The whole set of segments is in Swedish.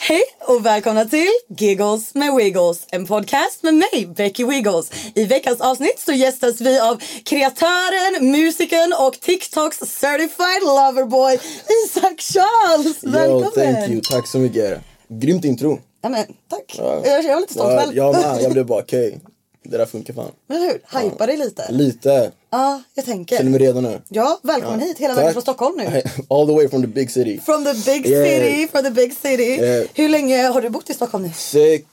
Hej och välkomna till Giggles med Wiggles, en podcast med mig, Becky Wiggles. I veckans avsnitt så gästas vi av kreatören, musikern och TikToks certified loverboy Isak Charles. Välkommen! Yo, thank you. Tack så mycket. Grymt intro. Ja, men, tack. Jag, jag var lite stolt själv. jag med, jag blev bara okej. Det där funkar fan. Men hur? Hypa dig lite. Lite. Ja, jag tänker. Känner mig redo nu. Ja, välkommen hit hela vägen Tack. från Stockholm nu. All the way from the big city. From the big Yeah. city, from the big city. Yeah. Hur länge har du bott i Stockholm nu? Sex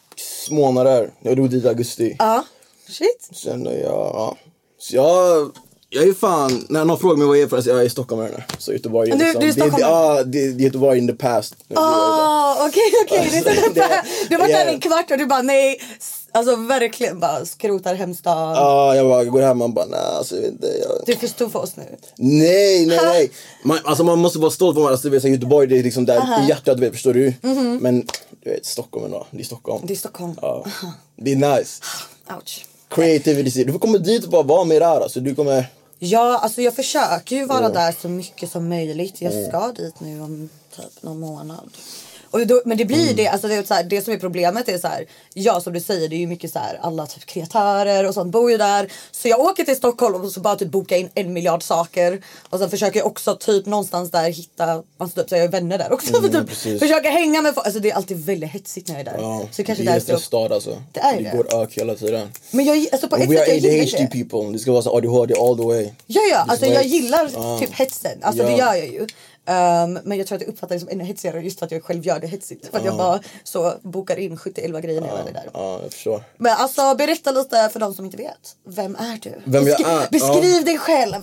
månader. Jag drog dit i augusti. Ja, shit. Sen är jag... Ja. Så jag... Jag är fan, när någon frågar mig vad jag är för, alltså jag är stockholmare nu. Så Göteborg är liksom- Du- du är det, det, stockholmare? ja, det, det är Göteborg in the past. Ah, okej, okej. Det är Alltså, sådär det- bara- Du var där yeah. en kvart och du bara nej. s- Alltså verkligen bara skrotar hemstad. Ja, jag bara går hem och bara nej, alltså jag vet inte. Jag... Du är för stor för oss nu. Nej, nej, nej. Man, alltså man måste vara stolt för varandra. Alltså, du vet, så här, Göteborg det är liksom där i hjärtat, du vet, förstår du? Men du vet, Stockholm ändå. Det är Stockholm. Mhm. Det är Stockholm. ja. det är nice. Ouch. Creativity. Du får komma dit och bara vara med det här. Alltså, du kommer... Ja, alltså jag försöker ju vara där så mycket som möjligt. Jag ska dit nu om typ någon månad. Och då, men det blir Mm. ju det, alltså det, är så här, det som är problemet är så här, ja som du säger det är ju mycket så här, alla typ kreatörer och sånt bor ju där. Så jag åker till Stockholm och så bara typ boka in en miljard saker. Och sen försöker jag också typ någonstans där hitta, alltså typ så jag är vänner där också. för typ, Mm, precis. försöker hänga med folk, alltså det är alltid väldigt hetsigt när jag är där. Ja, så kanske det är därför en jag- stad alltså. Det är det. det går ök hela tiden. Men jag, alltså på ett sätt Och we are jag gillar ADHD det. people. Det ska vara så ADHD all the way. Ja, ja. Alltså, Just jag wait. gillar Ja. typ hetsen. Alltså, Ja. Det gör jag ju. Ehm, men jag tror att jag uppfattar det som ännu hetsigare just för att jag själv gör det hetsigt. För att jag bara så bokar in 71 grejer när jag väl är där. Ja, jag förstår. Men alltså berätta lite för de som inte vet. Vem är du? Vem jag är? Eh. Beskriv dig själv.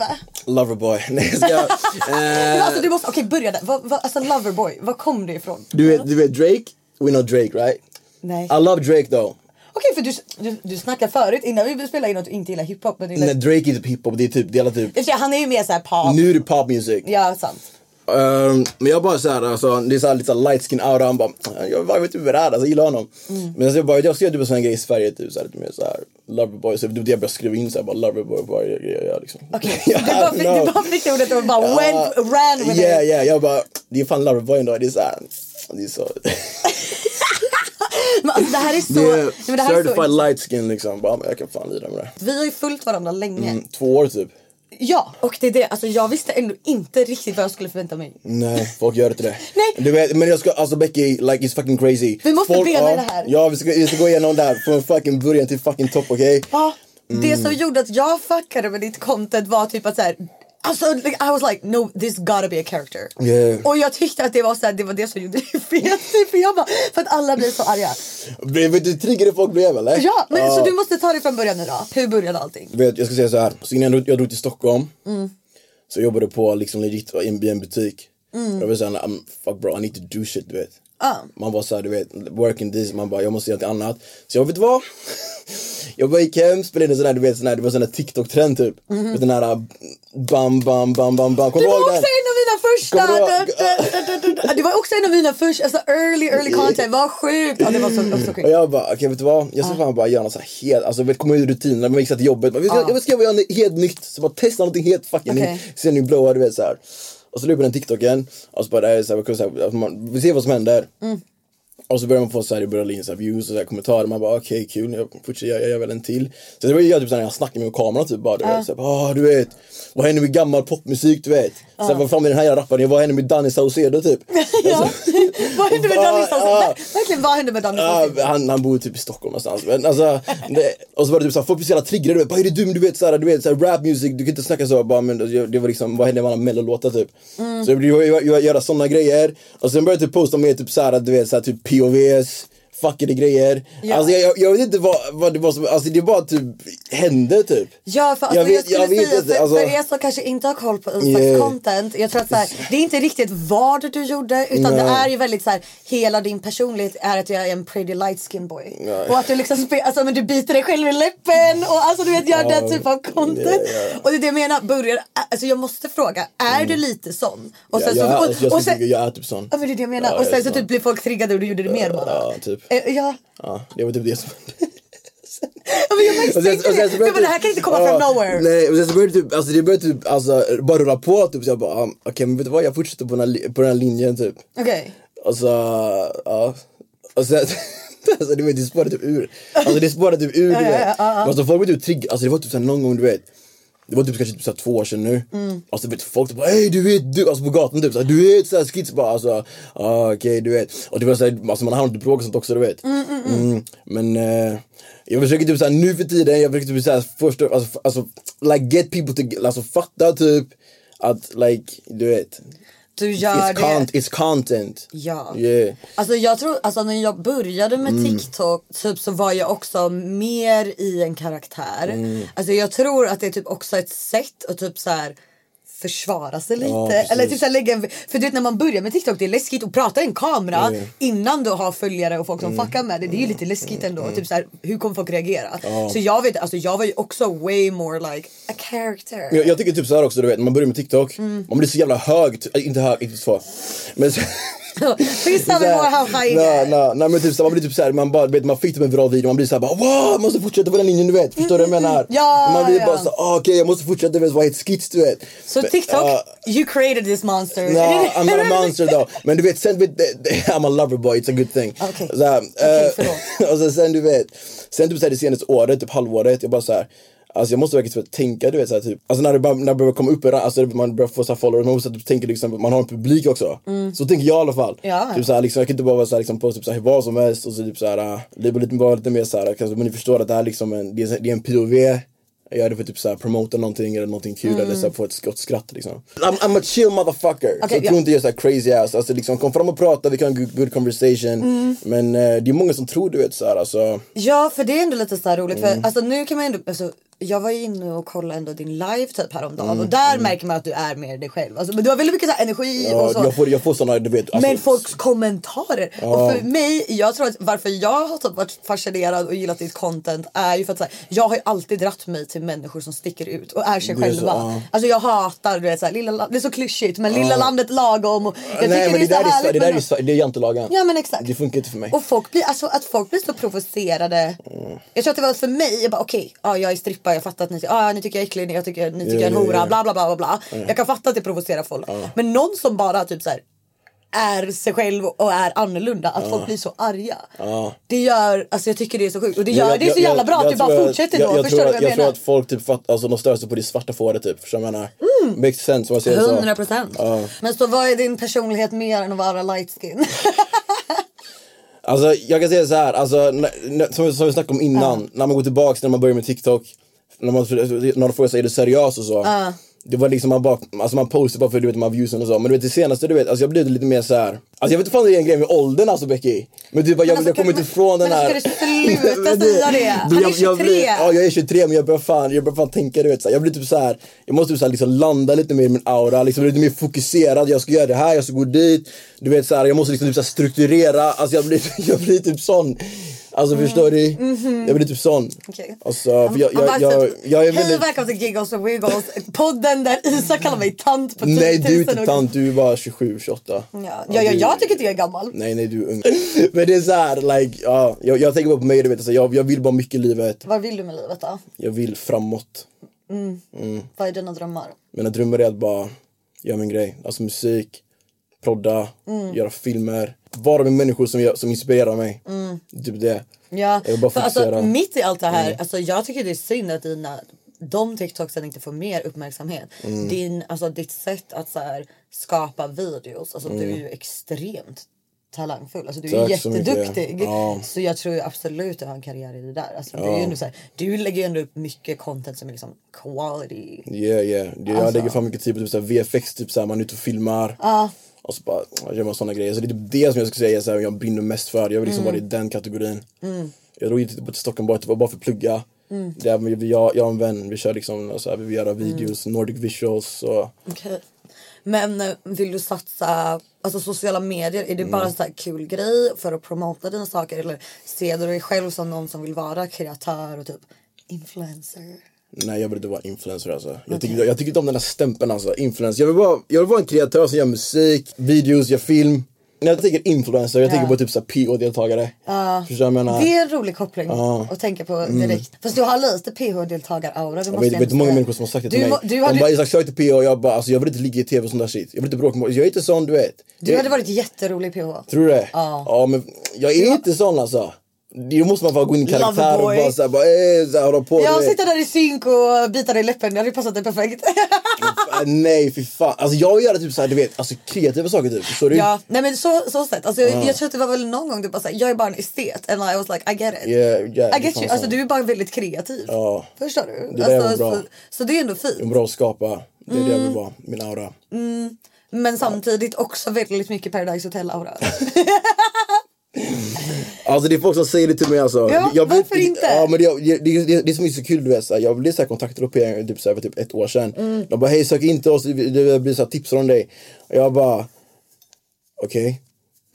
Loverboy. Nej, jag ska... Men Eh, Alltså, du måste, okej börja där. Vad- vad- alltså Loverboy, var kom du ifrån? du, vet, du vet Drake? We know Drake, right? Nej. I love Drake though. Okej för du, du, du snackade förut innan vi spelade in att du inte gillar hiphop. Men du gillar... När Drake är typ hiphop, det är typ, det är hela typ... I och för sig, Han är ju mer såhär pop. Nu är det pop music. Ja sant. Ehm, men jag bara såhär, alltså, det är såhär lite så här light skin aura. Han bara, jag bara, jag vet inte vem det är. Alltså, jag gillar honom. Mm. Men alltså, jag bara, jag skrev typ en sån här grej i Sverige, typ såhär lite mer såhär loverboy. Så det var det jag började skriva in såhär, bara loverboy, vad jag gör jag liksom. Okej, du, bara fick, du bara fick det ordet och bara went, ran with it. Yeah, yeah, jag bara, det är fan loverboy ändå. Det är såhär, det är så. Men alltså, det här är så... det Nej, är men det här är certified så light skin liksom. Bara, men jag kan fan lida med det. vi har ju följt varandra länge. Två år typ. Ja, och det är det. Alltså, jag visste ändå inte riktigt vad jag skulle förvänta mig. Nej, folk gör inte det. Nej. Du vet, men jag ska, alltså Becky, like it's fucking crazy. Vi måste folk, bena i ja, det här. Ja, vi ska, vi ska gå igenom det här från fucking början till fucking topp, okej? Ja, Det Mm. som gjorde att jag fuckade med ditt content var typ att så här, Alltså like, I was like no this gotta be a character. Yeah. Och jag tyckte att det var så här, det var det som gjorde det fel. Typ. För, jag bara, för att alla blir så arga. Blev du triggade folk blev eller? Ja, men, Så du måste ta det från början idag. Hur började allting? Du vet, jag ska säga så här. Så innan jag drog- jag drog till Stockholm Mm. så jag jobbade på liksom legit i en, i en butik. Mm. Jag var såhär, I'm, fuck bro, I need to do shit du vet. Man var såhär, du vet, working this, man bara, jag måste göra något annat. Så jag vet du vad? jag bara gick hem, spelade in en sån här, du vet, sån här, det var sån här TikTok-trend typ. Vet, Den här bam, bam, bam, bam, bam. Kommer Det du var ihåg Mhm. också en den? av mina första... Kommer du ihåg? Det var också en av mina första, alltså early early Mm. content. Vad sjukt! Ja, det var så, det var så sjukt. Och jag bara, okej vet du vad? Jag ska fan bara göra något så här helt, alltså vet, komma ur rutinerna, man gick så här till jobbet, man, jag, jag ska göra något helt nytt, så bara testa någonting helt fucking Okej. nytt. Sen nu blåa, du vet så här. Och så la jag upp den tiktoken, och så bara, det här är så här, vad kul, så här, att man, vi ser vad som händer. Mm. Och så börjar man få så här i Berlin, så här views och så här kommentarer, man bara okej kul, jag fortsätter, jag, jag gör väl en till. Så det var ju jag typ såhär när jag snackade med kameran typ bara du vet, så här, ah, du vet, vad händer med gammal popmusik du vet? Uh. Sen vad fan med den här jävla rapparen, vad händer med Danny Saucedo typ? Ja. vad hände med Danny Saucedo? Ja, ja. Verkligen, vad hände med Danny Ja, Saucedo? han, han bor typ i Stockholm någonstans. Men alltså, det, och så var det typ såhär, folk blir så jävla triggade. du vet, Vad är det du, du vet såhär, du vet såhär rap music, du kan inte snacka så. Bara, men, det det var liksom, vad hände med alla mellolåtar typ? Mm. Så jag började jag, jag, göra såna grejer. Och sen började jag typ posta mer typ såhär, du vet såhär typ POVs. Fuckade grejer. Ja. Alltså jag, jag, jag vet inte vad, vad det var som, alltså det bara typ hände typ. Ja, för alltså, Jag jag, vet- skulle jag vet säga inte, för, alltså- för er som kanske inte har koll på Isaks Yeah. content. Jag tror att så här, det är inte riktigt vad du gjorde utan det är ju väldigt så här, hela din personlighet är att jag är en pretty light skin boy. Och att du liksom spe, alltså, men du biter dig själv i läppen och alltså du vet gör den typ av content. yeah, Och det är det jag menar, börjar, alltså jag måste fråga, är du lite sån? Och Jag, sen Mm. jag, så, är- och, jag, skulle och sen, tycka jag är typ sån. ja men det är det jag menar. Ja, och jag är sen så sån. typ blev folk triggade och du gjorde det mer bara. Ja, typ. Eh, ja. Ja, det var typ det som hände. Ja, men jag Och sen- och misstänkte sen så det. Du började bara, typ- det här kan inte komma ja, från nowhere. Nej, och sen så började det typ, alltså det började typ, alltså bara rulla på typ. Så jag bara, ah, okej men vet du vad, jag fortsätter på den här, li- på den här linjen typ. Okej. Och så, Alltså, ja. Och sen, alltså du vet det spårade typ ur. Alltså det spårade typ ur du vet. Alltså folk blev typ triggade, alltså det var typ såhär någon gång du vet. Det var typ kanske typ såhär två år sedan nu. Alltså vet du, folk typ bara hej du vet du, alltså på gatan typ såhär du vet såhär skits bara alltså. Ah, okej du vet. Och det var såhär, alltså man hamnade i bråk och sånt också du vet. Mm, men eh, jag försöker typ såhär nu för tiden, jag försöker typ såhär första, alltså, f- alltså like get people to, alltså fatta typ att like du vet. Du gör It's, det. con- it's content. Ja. Yeah. Mm. Alltså jag tror, alltså när jag började med TikTok typ så var jag också mer i en karaktär. Mm. Alltså jag tror att det är typ också ett sätt att typ så här försvara sig lite. precis. Eller typ så här lägga en, för du vet när man börjar med TikTok det är läskigt att prata i en kamera innan du har följare och folk som Mm. fuckar med det. Det är ju lite läskigt ändå. Typ så här, hur kommer folk reagera? Så jag vet, alltså jag var ju också way more like a character. Jag, jag tycker typ så här också, du vet, när man börjar med TikTok, Mm. man blir så jävla hög, ty- äh, inte hög, inte så. Men så, Finns det så more här- how high it nej, is? nej, nej, men typ så här, man blir typ så här, man bara, du vet, man fick typ en viral video, man blir så här bara wow, jag måste fortsätta på den linjen du vet, förstår du vad jag menar? Mm, Ja, man blir ja. bara så ah, okej jag måste fortsätta, du vet, vad heter skits du vet? Så Men, TikTok, ja, you created this monster. Nah, I'm not a monster though. Men du vet, sen, vet, det- det- I'm a lover boy, it's a good thing. Okej. Så här, Okej, eh, och sen, sen du vet, sen typ så här, det senaste året, typ halvåret, jag bara så här. Alltså jag måste verkligen typ tänka du vet såhär typ, alltså när det, bara, när det börjar komma upp, i ra- alltså man börjar få såhär followers, man måste typ tänka liksom, man har en publik också. Så tänker jag i alla fall. Mm. Ja. Typ såhär liksom, jag kan inte bara vara såhär liksom posta typ såhär vad som helst och så typ såhär, äh, det blir lite, bara lite mer såhär, kanske, men ni förstår att det här liksom, en, det, är, det är en POV, jag gör det för typ såhär promota någonting eller någonting kul eller såhär få ett skott skratt liksom. I'm, I'm a chill motherfucker. Mm. Okej, så ja. tro inte jag är såhär crazy ass. Alltså liksom kom fram och prata, vi kan ha en good, good conversation. Men eh, det är många som tror du vet såhär alltså. Mm. Ja, för det är ändå lite så här roligt. Mm. För alltså, nu kan man ändå, alltså, jag var ju inne och kollade ändå din live typ häromdagen Mm, och där märker man att du är mer dig själv. Alltså, men du har väldigt mycket så här energi och så. Jag får, jag får såna du vet. Alltså, Men folks kommentarer. Och för mig, jag tror att varför jag har typ varit fascinerad och gillat ditt content är ju för att så här, jag har ju alltid dratt mig till människor som sticker ut och är sig Det är så, själva. ja. Alltså jag hatar du vet, så här, lilla, la- det är så klyschigt men lilla landet lagom. Och jag Nej tycker men det är det så där är, härligt det med där dem. är, det är jantelagen. Ja men exakt. Det funkar inte för mig. Och folk blir, alltså, att folk blir så provocerade. Mm. Jag tror att det var för mig, jag bara okej, ja, jag är strippa, jag fattar att ni, ah, ni tycker jag är äcklig, jag tycker, ni tycker jag är en ja, Mm. hora, ja. bla bla bla bla. bla. Jag kan fatta att det provocerar folk. Men någon som bara typ så här. är sig själv och är annorlunda. Att folk blir så arga. Det gör, alltså jag tycker det är så sjukt. Och det gör, det är så jävla bra att du tror bara fortsätter då. jag, jag, förstår tror, du vad att- jag, jag tror menar? att folk typ fattar, alltså de stör sig på ditt svarta fåret typ. Förstår du vad jag menar? Makes sense om jag säger det så. 100 Mm. procent. Men så vad är din personlighet mer än att vara light skin? Alltså jag kan säga så här, alltså, när, när, som, som vi snackade om innan, när man går tillbaks när man börjar med TikTok, när man, när de frågar sig är du seriös och så. Det var liksom man bara, alltså man postar bara för du vet de här viewsen och så. Men du vet det senaste du vet, alltså jag blev lite mer så här. Alltså jag vet inte fan om det är en grej med åldern alltså Becky. Men typ bara, jag, jag kommer inte ifrån den här. alltså, Men ska du sluta säga det? Han Du, är 23. jag blir, ja, jag är 23 men jag börjar fan, jag börjar fan tänka du vet, så här, jag blir typ så här, jag måste typ så här, liksom landa lite mer i min aura, liksom, bli lite mer fokuserad, jag ska göra det här, jag ska gå dit. Du vet så här, jag måste liksom typ så här, strukturera, alltså jag blir, jag blir typ sån. Alltså förstår du? Jag blir typ sån. Mm. Mm-hmm. Okej. Alltså, för jag, Han bara jag, jag, jag, typ, jag är Hej väldigt... välkommen till Giggles and Wiggles. Podden där Isa kallar mig tant på 10 000 Nej du är inte och- tant, du är bara 27, 28. Ja, ja, ja, du- jag tycker inte jag är typ- gammal. Nej nej du är ung. Men det är såhär, like, ja, jag, jag tänker bara på mig du vet, alltså, jag, jag vill bara mycket i livet. Vad vill du med livet då? Jag vill framåt. Vad är dina drömmar? Mina drömmar är att bara göra min grej. Alltså musik, prodda, göra filmer. Vara med människor som, jag, som inspirerar mig. Typ det. Ja, Jag vill bara för alltså, fokusera. Mm. mitt i allt det här, alltså, jag tycker det är synd att dina, de TikToksen inte får mer uppmärksamhet. Mm. Din, alltså, ditt sätt att så här, skapa videos, alltså, du är ju extremt talangfull. Alltså, du är Mm. Tack så mycket. jätteduktig. Ja. Så jag tror ju absolut att du har en karriär i det där. Alltså, du, är ju ändå så här, du lägger ju ändå upp mycket content som är liksom quality. Yeah, yeah. Det, jag lägger fram mycket tid på typ såhär VFX, typ såhär, man är ute och filmar. Och så bara ja, gör man såna grejer. Så det är typ det som jag skulle säga är såhär, jag brinner mest för. Jag vill liksom vara i den kategorin. Jag drog inte till Stockholm bara, det var bara för att plugga. Det är, men jag, jag och en vän, vi kör liksom, så här, vi vill göra videos, Nordic visuals och Okej. Men eh, vill du satsa alltså sociala medier? Är det Mm. bara en sån här kul grej för att promota dina saker? Eller ser du dig själv som någon som vill vara kreatör och typ influencer? Nej jag vill inte vara influencer alltså. Jag, tycker, jag tycker inte om den här stämpeln alltså, influencer. Jag vill, vara, jag vill vara en kreatör som gör musik, videos, gör film. När jag tänker influencer, jag tänker på typ såhär PO-deltagare. Förstår du vad jag menar? Det är en rolig koppling att tänka på direkt. Fast du har lite PH-deltagar-aura. Du Jag måste vet, vet ändå du hur många säga. människor som har sagt Mm. det till du, mig? må- Du De bara hade, Isak sök till PO och jag bara alltså, jag vill inte ligga i tv och sånt där shit. Jag vill inte bråka med Jag är inte sån du vet. du jag, hade varit jätterolig PH. Tror du det? Ja. men jag är inte sån alltså. Det måste man bara gå in i karaktär och Loverboy. bara såhär, bara, eh, så här, hålla på. du Jag vet. sitter där i synk och bitar dig i läppen. Det hade ju passat dig perfekt. Äh, Nej fy fan. Alltså jag vill göra typ såhär du vet, alltså kreativa saker typ. Förstår du? Ja, nej men så, så sett. Alltså, jag, jag tror att det var väl någon gång du bara såhär, jag är bara en estet. And I was like, I get it. Yeah, yeah, det I är get fan you. Alltså sant. du är bara väldigt kreativ. Förstår du? Det där är alltså, bra. Mm. så, så det är ändå fint. Jag är bra att skapa. Det är det jag Mm. vill vara. Min aura. Men samtidigt också väldigt mycket Paradise Hotel-aura. Alltså det är folk som säger det till mig alltså. Ja, varför inte? Ja, men det, det, det, det, det som är så kul du vet, så här, jag blev så här kontaktad av PR typ, så här, för typ ett år sedan. Mm. De bara hej sök inte oss, det- det blir så här, tips från dig. Och jag bara okej.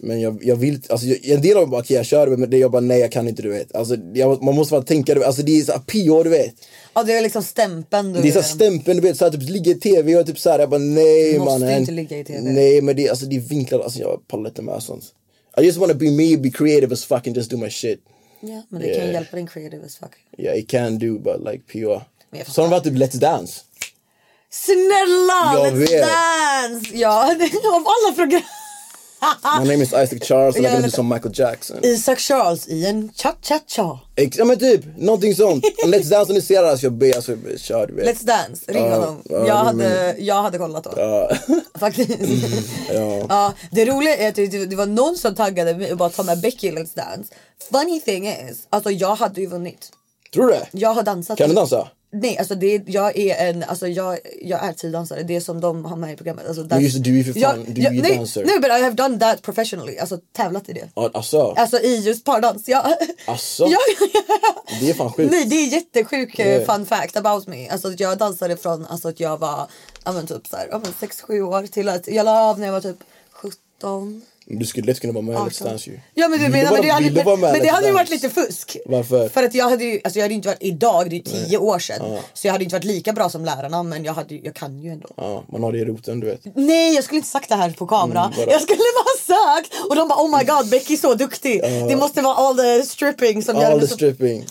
Men jag, jag vill alltså jag, en del av dem bara okej jag kör det men det, jag bara nej jag kan inte du vet. Alltså jag, man måste bara tänka du vet, alltså det är så här, PH du vet. ja, det är liksom stämpeln du Det är så här stämpeln, du vet, så här, typ ligga i tv och typ så här, jag bara nej Måste mannen. inte ligga i TV. Nej men det, alltså, det är vinklar, alltså jag pallar inte med sånt. I just wanna be me, be creative as fuck and just do my shit. ja, men det kan ju hjälpa din creative as fuck. Yeah it can do but like pure. jag fattar. Så har de varit typ Let's Dance. Snälla! Jag let's vet. dance! Ja, det- av alla program. My name is Isaac Charles and Jag I can do vet. som Michael Jackson. Isak Charles i en cha-cha-cha. Ex- ja men typ, någonting sånt. Och Let's Dance om ni ser det alltså jag ber, alltså jag ber, kör du vet. Let's dance, ring honom. ja, jag, ring hade, jag hade kollat då. Faktiskt. ja. det roliga är att det, det var någon som taggade mig och bara ta med Becky i Let's dance. Funny thing is, alltså jag hade ju vunnit. Tror du det? Jag har dansat. Kan du dansa? Nej, alltså det, jag är en, alltså jag, jag är tiddansare. Det är som de har med i programmet. Alltså, dans- Men just det, du är ju för fan- du är ju nej, dancer. Nej, but I have done that professionally. Alltså tävlat i det. Ja, Alltså, Alltså i just pardans. Ja. Asså? Ja, det är fan sjukt. Nej det är jättesjuk eh, Yeah. fun fact about me. Alltså att jag dansade från alltså, att jag var ja, men, typ så här, ja, men, 6-7 år till att jag la av när jag var typ 17. Du skulle lätt kunna vara med i Let's 18. Dance ju. Ja men du Vill menar vara- men det hade, vill du vara men, med men i det Let's hade ju varit Dance? lite fusk. Varför? För att jag hade ju, alltså jag hade ju inte varit idag, det är ju tio år sedan. Så jag hade ju inte varit lika bra som lärarna men jag, hade, ju- jag kan ju ändå. Ja, man har det i roten du vet. Nej jag skulle inte sagt det här på kamera. vadå? jag skulle bara ha sagt och de bara oh my god Becky är så duktig. Det måste vara all the stripping som gör All henne the så stripping.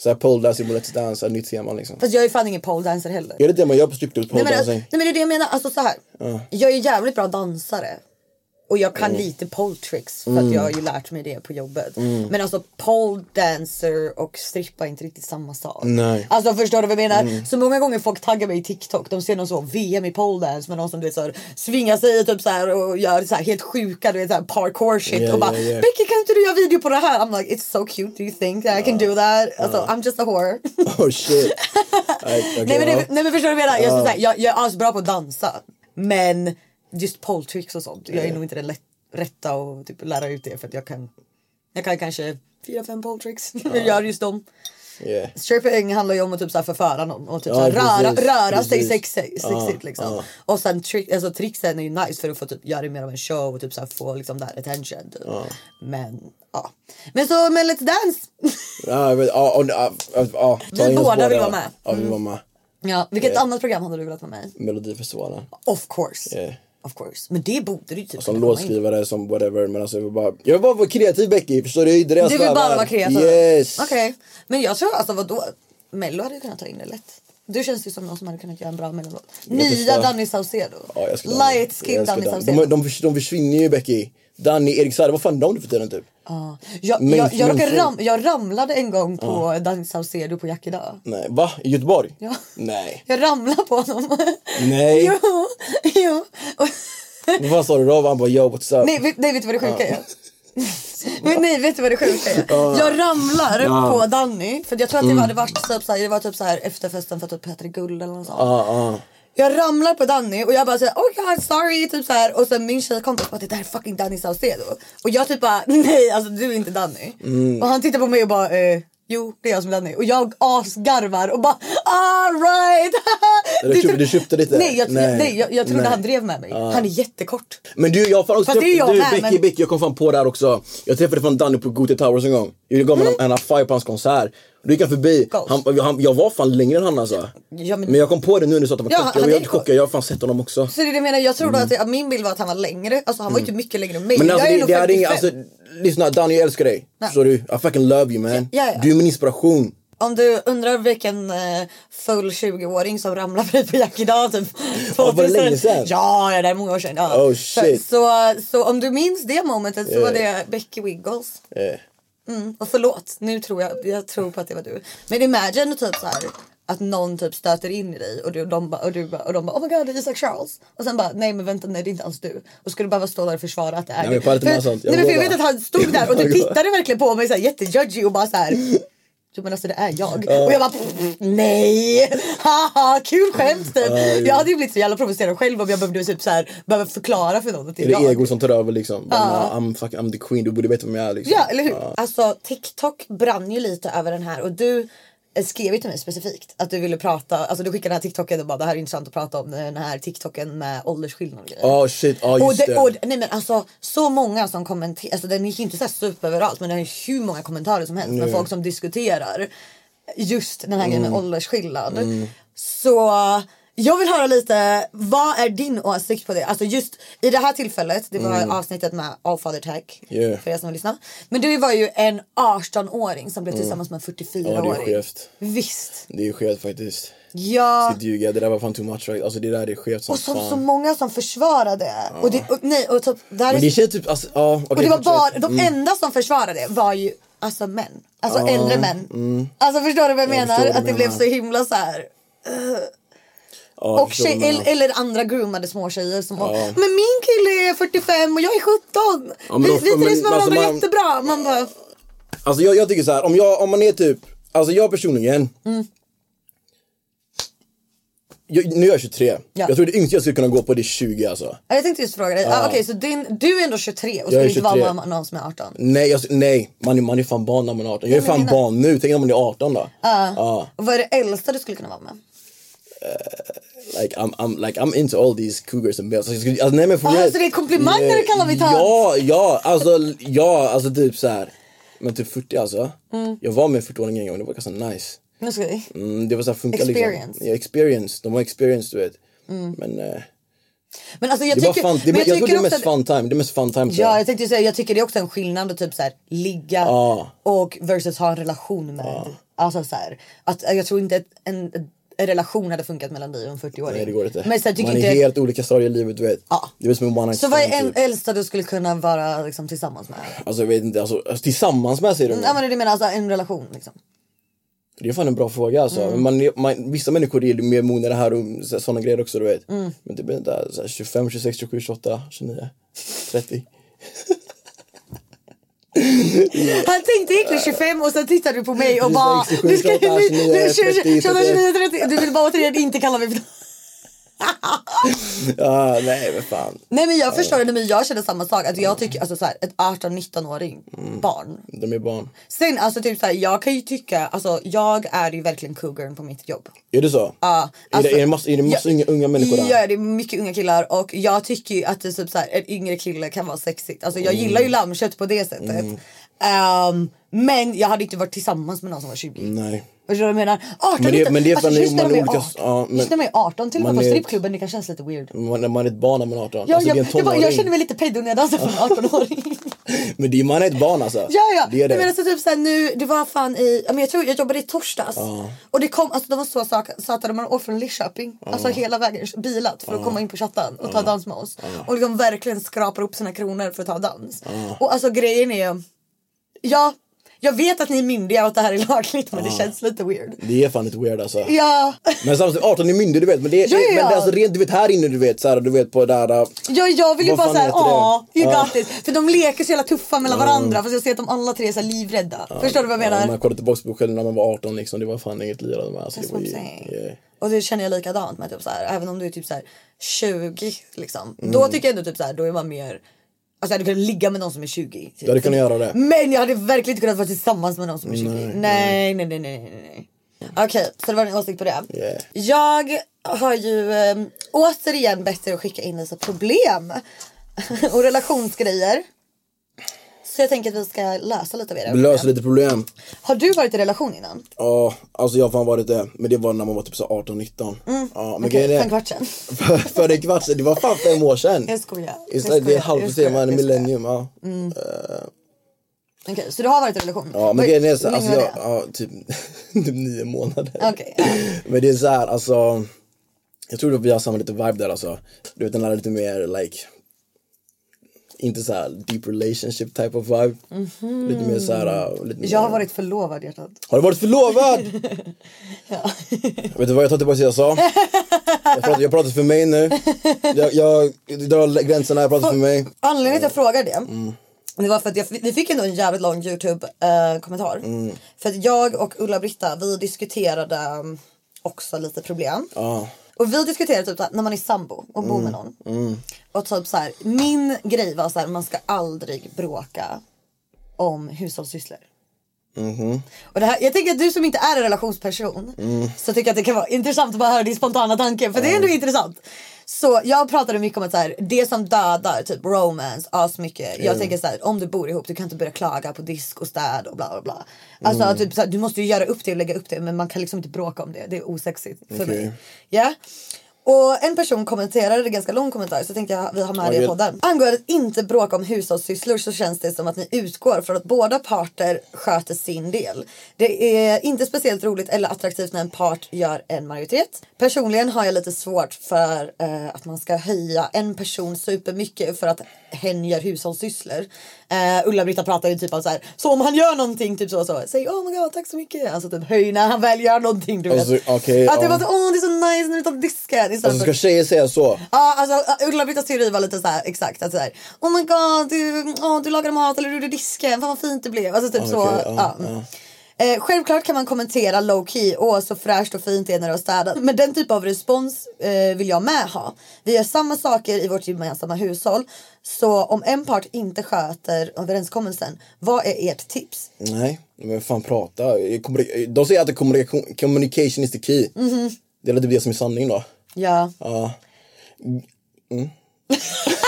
Såhär pole dancing på Let's Dance, ett nytt tema liksom. Fast jag är fan ingen pole dancer heller. Är det det man gör på stripclub? Pole Nej men, alltså, dancing? nej men det är det jag menar, alltså så här. Jag är jävligt bra dansare. Och jag kan lite pole tricks för Mm. att jag har ju lärt mig det på jobbet. Men alltså pole dancer och strippa är inte riktigt samma sak. Nej. Mm. Alltså förstår du vad jag menar? Så många gånger folk taggar mig i TikTok. De ser någon så VM i pole dance med någon som du vet så här, svingar sig typ så här och gör så här helt sjuka du vet så här parkour shit Ja, och bara ja, ja. Becky kan inte du göra video på det här? I'm like it's so cute do you think that I can do that? Alltså I'm just a whore. Oh shit. Nej, okej, Nej men, ja. det, nej men förstår du vad jag menar? Jag, skulle säga, jag, jag är asbra på att dansa. Men just pole tricks och sånt. Jag är nog inte den lätt, rätta att typ, lära ut det för att jag kan. Jag kan kanske fyra, fem pole tricks. Jag gör just dem. Yeah. Stripping handlar ju om att typ så här förföra någon och typ Ja, så här röra, precis, röra sig precis. sex, sexigt Ja, liksom. ja. Och sen trick, alltså, tricksen är ju nice för att få typ, göra det mer av en show och typ så här, få liksom där attention. Typ. Men ja. Men så med Let's Dance. Ja, jag vet, ja, och- ja, ja, ja, ta Vi in oss båda vill vara med. Mm. Ja, vi vill vara med. ja, vilket annat program hade du velat vara med i? Melodifestivalen. Of course. Yeah. Alltså, Of course. Men det borde du ju typ kunna Som komma in låtskrivare, som whatever. Men alltså jag vill bara, jag vill bara vara kreativ Becky, förstår du? Det är ju det jag Du vill bara strävar. vara kreativ? Yes! Okej. Men jag tror, alltså vadå? Mello hade ju kunnat ta in det lätt. Du känns ju som någon som hade kunnat göra en bra mellolåt. Nya förstår. Danny Saucedo. Ja, jag skulle ha- Light skin jag skulle Danny ha- Saucedo. De, de, förs- de försvinner ju Becky. Danny, Erik Saade, vad fan är de nu för tiden typ? Ja. Jag, Men- jag, jag, men- råkade ram, jag ramlade en gång på Danny Saucedo på Jack idag. Nej, va? I Göteborg? Ja. Nej. Jag ramlade på honom. Nej. jo, jo. Och, Men Vad sa du då? Han bara yo what's up? nej, vet, nej, vet du vad det sjuka är? Men nej, vet du vad det sjuka är? Jag ramlar Ja. Mm. på Danny. För jag tror att det hade varit typ såhär, det var typ såhär efterfesten för typ P3 Guld eller något sånt. Ja, ja. Jag ramlar på Danny och jag bara säger oh god sorry typ så här. och sen min tjejkompis bara det där är fucking Danny Saucedo och jag typ bara nej alltså du är inte Danny Mm. och han tittar på mig och bara eh, jo det är jag som är Danny och jag asgarvar och bara alright Du köpte- du köpte lite? typ- nej jag, nej. Nej. nej jag, jag trodde Nej. han drev med mig han är jättekort Men du, jag har fan också Fast det är jag du med, Becky, men- Becky, jag kom fan på det här också. Jag träffade fan Danny på Gothia Towers en gång. Jag gav honom en high five på hans konsert. Då gick han förbi. Mm. Ghost. Han, han, jag var fan längre än han alltså. Ja, men- men... jag kom på det nu när du sa att han var Ja, kort. han Jag är var helt kort. chockad, jag har fan sett honom också. så Alltså, det är det jag menar jag trodde att jag, min bild var att han var längre alltså han var ju inte mycket längre än mig Mm. Men jag alltså, är det, nog det är inga, 55. alltså, lyssna Danny jag älskar dig. Nej. Så du, I fucking love you man. Ja, ja. Du är min inspiration. Om du undrar vilken eh, full 20-åring som ramlade på dig på Jack idag typ. Ja, var det länge sedan? Ja, ja, det är många år sedan. Ja. Oh, Så- shit. Så, så om du minns det momentet så var Eh. det Becky Wiggles. Eh. Mm. Och förlåt, nu tror jag, jag tror på att det var du. Men imagine typ så här att någon typ stöter in i dig och, du, de, ba, och, du, ba, och de bara oh my god det är Isaac Charles. Och sen bara nej men vänta nej det är inte alls du. Och skulle behöva stå där och försvara att det är Nej, du. men jag pallar inte För- med sånt. Jag Nej, men för jag vågar. vet att han stod där och Jag du vågar. tittade verkligen på mig så här jättejudgy och bara så här. Jo men alltså det är jag. Och jag bara pff, nej, haha kul skämt typ. jag hade ju blivit så jävla provocerad själv om jag behövde typ så här, behöva förklara för någon att det Är är det jag. ego som tar över liksom? Bara, nah, I'm, fucking, I'm the queen, du borde veta vem jag är liksom. Ja, eller hur? Alltså TikTok brann ju lite över den här och du eh, skrev ju till mig specifikt att du ville prata, alltså du skickade den här TikToken och bara det här är intressant att prata om eh, den här TikToken med åldersskillnad och grejer. Oh shit, ja Och just det, det. och, nej men alltså så många som kommenterar, alltså den gick ju inte så här superöverallt men det är hur många kommentarer som helst Mm. med folk som diskuterar just den här grejen med åldersskillnad. Mm. Så jag vill höra lite, vad är din åsikt på det? Alltså just i det här tillfället, det var avsnittet med All Father Tech Mm. Yeah. för er som lyssnar. Men det var ju en 18-åring som blev tillsammans med en Mm. Ja, det är 44-åring. skevt. Visst. Det är skevt faktiskt. Ja. Ska ljuga, det där var fan too much right? Alltså det där är skevt som Och som fan. så många som försvarade. det. Och det, och, nej, och typ, det här är Men det känns typ, alltså, ja. okej, Mm. Och det var fortsätt. bara, de enda som försvarade det var ju alltså män. Alltså äldre män. Alltså förstår du vad jag, menar? mm. förstår vad Att du det blev menar. så himla så här. eh. Ja, jag Och förstår vad tjej, du menar. eller, eller andra groomade små tjejer som var Men min kille är 45 och jag är 17. Ja, men vi då- vi men trivs med alltså varandra man- jättebra. Man bara, Alltså jag, jag tycker så här, om, jag, om man är typ, alltså jag personligen. Mm. Jag, nu är jag 23. Ja. Jag tror det yngsta jag skulle kunna gå på det är 20 alltså. Ja, jag tänkte just fråga dig. Ah, Okej så din, du är ändå 23 och skulle är inte vara 23. med någon som är 18. Nej, jag, nej. Man, är, man är fan barn när man är 18. Jag är fan mina- barn nu, tänk om man är 18 då. Och vad är det äldsta du skulle kunna vara med? Like, I'm, I'm, like I'm into all these cougars and males. Alltså, jag skulle- alltså, nej, men for Ah, real. så det är komplimanger du kallar mig tant? Ja, ja, alltså, ja, alltså typ så här. Men typ 40 alltså. Mm. Jag var med en 40-åring en gång, det var ganska nice. Nu ska vi. Mm, det var så här funkar Experience. liksom. Ja, experience. De har experience du vet. Men eh, Men alltså jag det var tycker, fun. Det, men jag, tror det är också mest att- fun time. Det är mest fun time tror Ja, jag. jag tänkte säga, jag tycker det är också en skillnad att typ så här, ligga och versus ha en relation med. Alltså så här, att jag tror inte att en, en relation hade funkat mellan dig och en 40-åring. Nej det går inte. Men sen tycker Man inte... är helt olika stadier i livet du vet. Ja. Det är väl som en one night Så vad är stand, en typ. äldsta du skulle kunna vara liksom, tillsammans med? Alltså jag vet inte, alltså, alltså tillsammans med säger du? nu? Ja men det är det jag menar, alltså en relation liksom. Det är fan en bra fråga alltså. Mm. Men Man, man, vissa människor är ju mer mogna i det här och så- såna grejer också du vet. Mm. Men det blir inte så här, 25, 26, 27, 28, 29, 30. Han tänkte egentligen 25 och sen tittade du på mig och Precis, bara... 67, du ska- 28, du- du- 29, 30, 29, 30. Du vill bara återigen inte kalla mig för Ja, Ah, nej men fan. Nej men jag förstår det, Nej, men jag känner samma sak. Att jag tycker alltså, så här, ett 18-19-åring barn. De är barn. Sen alltså typ så här, jag kan ju tycka, alltså jag är ju verkligen cougaren på mitt jobb. Är det så? Ja, alltså- är det, är det massa, är det massa Ja, unga, unga människor där? Ja, det är mycket unga killar och jag tycker ju att det är typ så här, en yngre kille kan vara sexigt. Alltså jag gillar Mm. ju lammkött på det sättet. Ehm, men jag hade inte varit tillsammans med någon som var 20. Nej. Förstår du vad jag menar? 18, Mm. Men det- 19, men det är för alltså, att ni- just när man de är är olika- 18, ja, men- just när man är 18 till och med på man är- strippklubben det kan kännas lite weird. Man, när man är ett barn när man är 18. Ja, alltså, jag, det är en jag, bara, tonåring. jag känner mig lite pedo när jag dansar för en 18-åring. Men det är, man är ett barn alltså. Ja, ja. Det är det. Men alltså, typ såhär, nu, det var fan i, ja, men jag tror jag jobbade i torsdags. Och det kom, alltså de var så sak- söta, de hade åkt från Lidköping, alltså hela vägen bilat för att komma in på chatten och ta dans med oss. Och liksom verkligen skrapar upp sina kronor för att ta dans. Och alltså grejen är, ja, jag vet att ni är myndiga och att det här är lagligt men det känns lite weird. Det är fan lite weird alltså. Ja, Men samtidigt, 18 är myndig du vet. Men det är, Ja, ja, men det ja. är alltså rent du vet här inne du vet. Så här, du vet på det där. äh, jag, jag vill ju Vad bara fan såhär, heter det? ja, you Ja. got it. För de leker så jävla tuffa mellan varandra fast jag ser att de alla tre är så här livrädda. Förstår du vad jag menar? Ja, man kollade tillbaka på sig själv när man var 18 liksom. Det var fan inget lirande med. Alltså, det That's var what I'm ju, saying. yeah. Och det känner jag likadant med typ så här, även om du är typ så här 20 liksom. Mm. Då tycker jag ändå typ så här, då är man mer Alltså jag hade kunnat ligga med någon som är 20. Typ. Du hade kunnat göra det. Men jag hade verkligen inte kunnat vara tillsammans med någon som är 20. Nej, nej, nej, nej, nej. nej. Okej, så det var din åsikt på det. Yeah. Jag har ju eh, återigen bett er att skicka in lite problem och relationsgrejer. Så jag tänker att vi ska lösa lite av era Löser problem. lite problem. Har du varit i relation innan? Ja, alltså jag har fan varit det. Men det var när man var typ så 18-19. Mm. Ja, men grejen För en är, kvart sedan. för, för en kvart sedan, det var fan fem år sedan. Jag skojar. Jag Istället, det är skojar, ett halvt jag sedan, man skojar, är jag skojar. Mm. millennium. Ja. Okej, så du har varit i relation? Ja men grejen är så, Hur alltså länge jag, var det? ja, typ, typ nio månader. Okej, ja. Men det är så här, alltså. Jag tror att vi har samma lite vibe där alltså. Du vet den här lite mer like. Inte så här deep relationship type of vibe. Lite mer så här. uh, Lite mer, Mhm. Jag har varit förlovad hjärtat. Har du varit förlovad? Vet du vad jag tar tillbaka det jag sa? Jag pratar, jag pratar för mig nu. Jag, jag drar gränserna, jag pratar för mig. Anledningen till att jag frågar det. Mm. Det var för att jag, vi fick ändå en jävligt lång Youtube-kommentar. Mm. För att jag och Ulla-Britta vi diskuterade mm, också lite problem. Och vi diskuterade typ så här, när man är sambo och bor Mm. med någon. Och typ så här, min grej var så här, man ska aldrig bråka om hushållssysslor. Och det här, jag tänker att du som inte är en relationsperson så tycker jag att det kan vara intressant att bara höra din spontana tanke för det är ändå intressant. Så jag pratade mycket om att så här, det som dödar typ romance asmycket. Jag tänker så här, om du bor ihop du kan inte börja klaga på disk och städ och bla bla bla. Alltså typ så här, du måste ju göra upp det och lägga upp det men man kan liksom inte bråka om det. Det är osexigt för mig. Okej. Ja. Och en person kommenterade, det är ganska lång kommentar så tänkte jag vi har med det i Okej. podden. Angående att inte bråka om hushållssysslor så känns det som att ni utgår från att båda parter sköter sin del. Det är inte speciellt roligt eller attraktivt när en part gör en majoritet. Personligen har jag lite svårt för eh, att man ska höja en person supermycket för att hen gör hushållssysslor. Eh, Ulla-Britta pratar ju typ om så här, så om han gör någonting typ så så, säg oh my god tack så mycket. Alltså typ höj när han väl gör någonting du vet. Alltså, okej, att det ja. var så, åh det är så nice när du tar disken. Istället Alltså för- ska tjejer säga så? Ja, alltså Ulla-Brittas teori var lite så här exakt att så här, oh my god du, åh, du lagade mat eller du gjorde disken, fan vad fint det blev. Alltså typ så. Ah, Okej, ja. ja, Eh, självklart kan man kommentera low key, åh så fräscht och fint det är när du har städat. Men den typ av respons eh, vill jag med ha. Vi gör samma saker i vårt gemensamma hushåll. Så om en part inte sköter överenskommelsen, vad är ert tips? Nej, men fan prata. Kommunik- De säger alltid kommunikation, communication is the key. Mhm. Det är lite det som är sanningen då. Ja. Mm.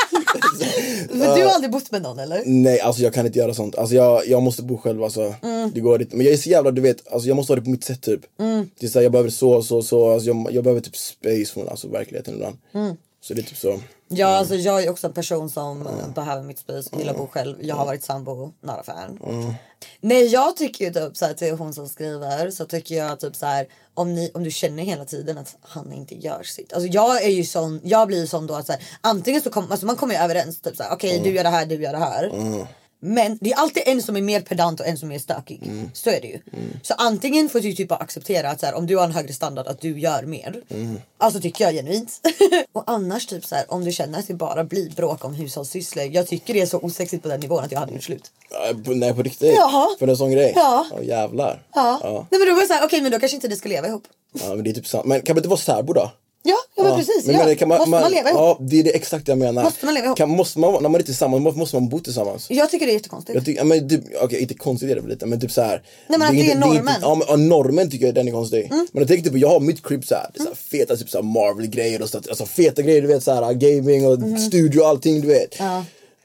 Men du har aldrig bott med någon eller? Nej, alltså jag kan inte göra sånt. Alltså jag, jag måste bo själv alltså. Mm. Det går inte. Men jag är så jävla, du vet, alltså jag måste ha det på mitt sätt Mm. typ. Det är så här, jag behöver så, så, så. Alltså jag, jag behöver typ space från alltså, verkligheten ibland. Så det är typ så. Ja, alltså jag är också en person som eh, behöver mitt space och gillar att bo själv. Jag har varit sambo, not a fan. Nej, jag tycker ju typ så här till hon som skriver så tycker jag typ så här om, ni, om du känner hela tiden att han inte gör sitt. Alltså jag är ju sån, jag blir ju sån då att så här, antingen så kommer, alltså man kommer ju överens typ så här okej du gör det här, du gör det här. Men det är alltid en som är mer pedant och en som är stökig. Så är det ju. Så antingen får du typ bara acceptera att så här, om du har en högre standard att du gör mer. Alltså tycker jag genuint. och annars typ så här, om du känner att det bara blir bråk om hushållssysslor. Jag tycker det är så osexigt på den nivån att jag hade gjort slut. Ja, på- Nej på riktigt? Jaha. För en sån grej? Ja. Åh, jävlar. Ja. Nej men då var det såhär, okej men då kanske inte ni ska leva ihop. Ja, men det är typ sant. Men kan man inte vara särbo då? Ja, ja men precis. Men ja. jag menar, kan man, måste man, leva ihop? Ja, det är det exakt jag menar. Måste man leva ihop? Kan, måste man, vara- när man är tillsammans, må- måste man bo tillsammans? Jag tycker det är jättekonstigt. Jag tycker, ja, men typ, okej inte konstigt är det väl lite men typ såhär. men att det är normen. Mm. ja, men, ja, normen tycker jag den är konstig. Men jag tänker typ, jag har mitt crib såhär, det är såhär feta typ såhär Marvel grejer och sånt, alltså feta grejer du vet såhär gaming och Mhm. studio och allting du vet.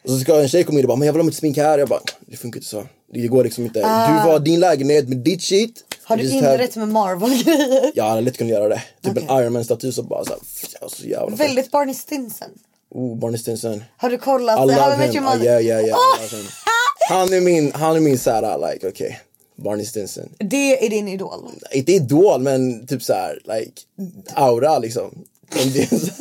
Och så ska en tjej komma in och bara, men jag vill ha mitt smink här. Jag bara, det funkar inte så. Det går liksom inte. Du var din lägenhet med ditt shit. Ah. har du Just have- inrett med Marvel-grejer? Jag hade lätt kunnat göra det. Typ Okej. en Iron Man-staty som bara såhär, alltså, så jävla fett. Väldigt Barney Stinson. Oh, Barney Stinson. Har du kollat? How I I love Met him. Your Ah, Mother? yeah, yeah, yeah. I love him. Han är min, han är min såhär like, okej. Barney Stinson. Det är din idol. Inte idol men typ såhär like aura liksom. Om det är så-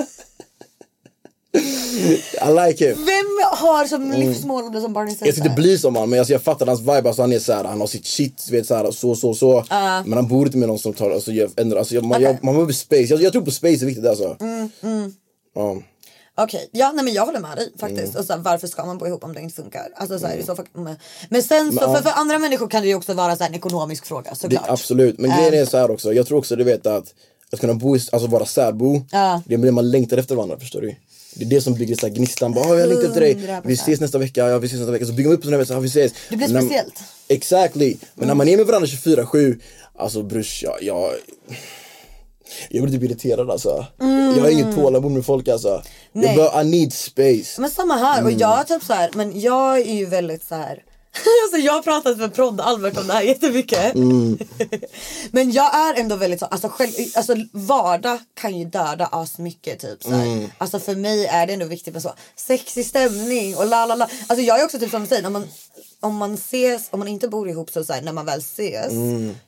I like him. Vem har som livsmål att bli som Barney Mm. Jag ska inte Stinson? bli som han men alltså, jag fattar hans vibe, alltså, han är såhär, han har sitt shit, vet, såhär, så så så. Men han bor inte med någon som tar, alltså, jag, ändrar, alltså, jag, man, Okej. jag, man behöver space, jag, jag tror på space är viktigt alltså. Ja. Okej, ja nej men jag håller med dig faktiskt. Och så här, varför ska man bo ihop om det inte funkar? Alltså, så här, i så fall, Mm. mm. Men sen så, för, för andra människor kan det ju också vara så här, en ekonomisk fråga Det, såklart. absolut, men grejen är så här också. Jag tror också du vet att att kunna bo, i, alltså vara särbo, det är det man längtar efter varandra förstår du. Det är det som bygger så här gnistan, bara "Ah, jag längtar efter dig, vi 100%. ses nästa vecka, ja vi ses nästa vecka. Så bygger man upp sådana här, så, "Ah, vi ses. Det blir Men när- speciellt. Mm. Exactly, men när man är med varandra 24-7, alltså brors jag, jag, jag blir typ irriterad alltså. Jag har inget tålamod med folk alltså. Mm. Nej. Jag bara, I need space. Men samma här och jag typ så här, men jag är ju väldigt så här. Alltså jag har pratat med Prod Albert om det här jättemycket. men jag är ändå väldigt så, alltså, själv, alltså vardag kan ju döda as mycket typ så här. Alltså för mig är det ändå viktigt med så sexig stämning och la la la. Alltså jag är också typ som du säger, när man, om man ses, om man inte bor ihop så, så här, när man väl ses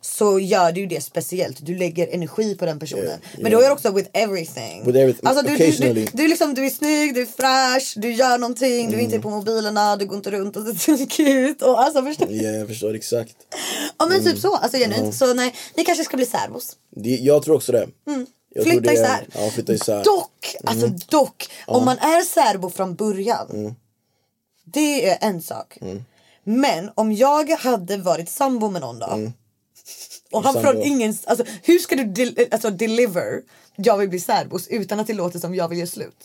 så gör du ju det speciellt. Du lägger energi på den personen. Men då är det också with everything. With everything, Alltså du, du, du, occasionally. du, är liksom, du är snygg, du är fräsch, du gör någonting, du är Mm. inte på mobilerna, du går inte runt och ser tråkig ut. Och alltså förstår Ja, jag förstår exakt. Ja men typ så, alltså genuint. Så nej, ni kanske ska bli särbos. Det, jag tror också det. Jag tror Mm. Flytta det- isär. Ja, flytta isär. Dock, alltså Mm. dock, om man är särbo från början. Det är en sak. Mm. Men om jag hade varit sambo med någon då. Och han Mm. Sambo. från ingen, alltså hur ska du del, alltså, deliver jag vill bli särbos utan att det låter som jag vill göra slut?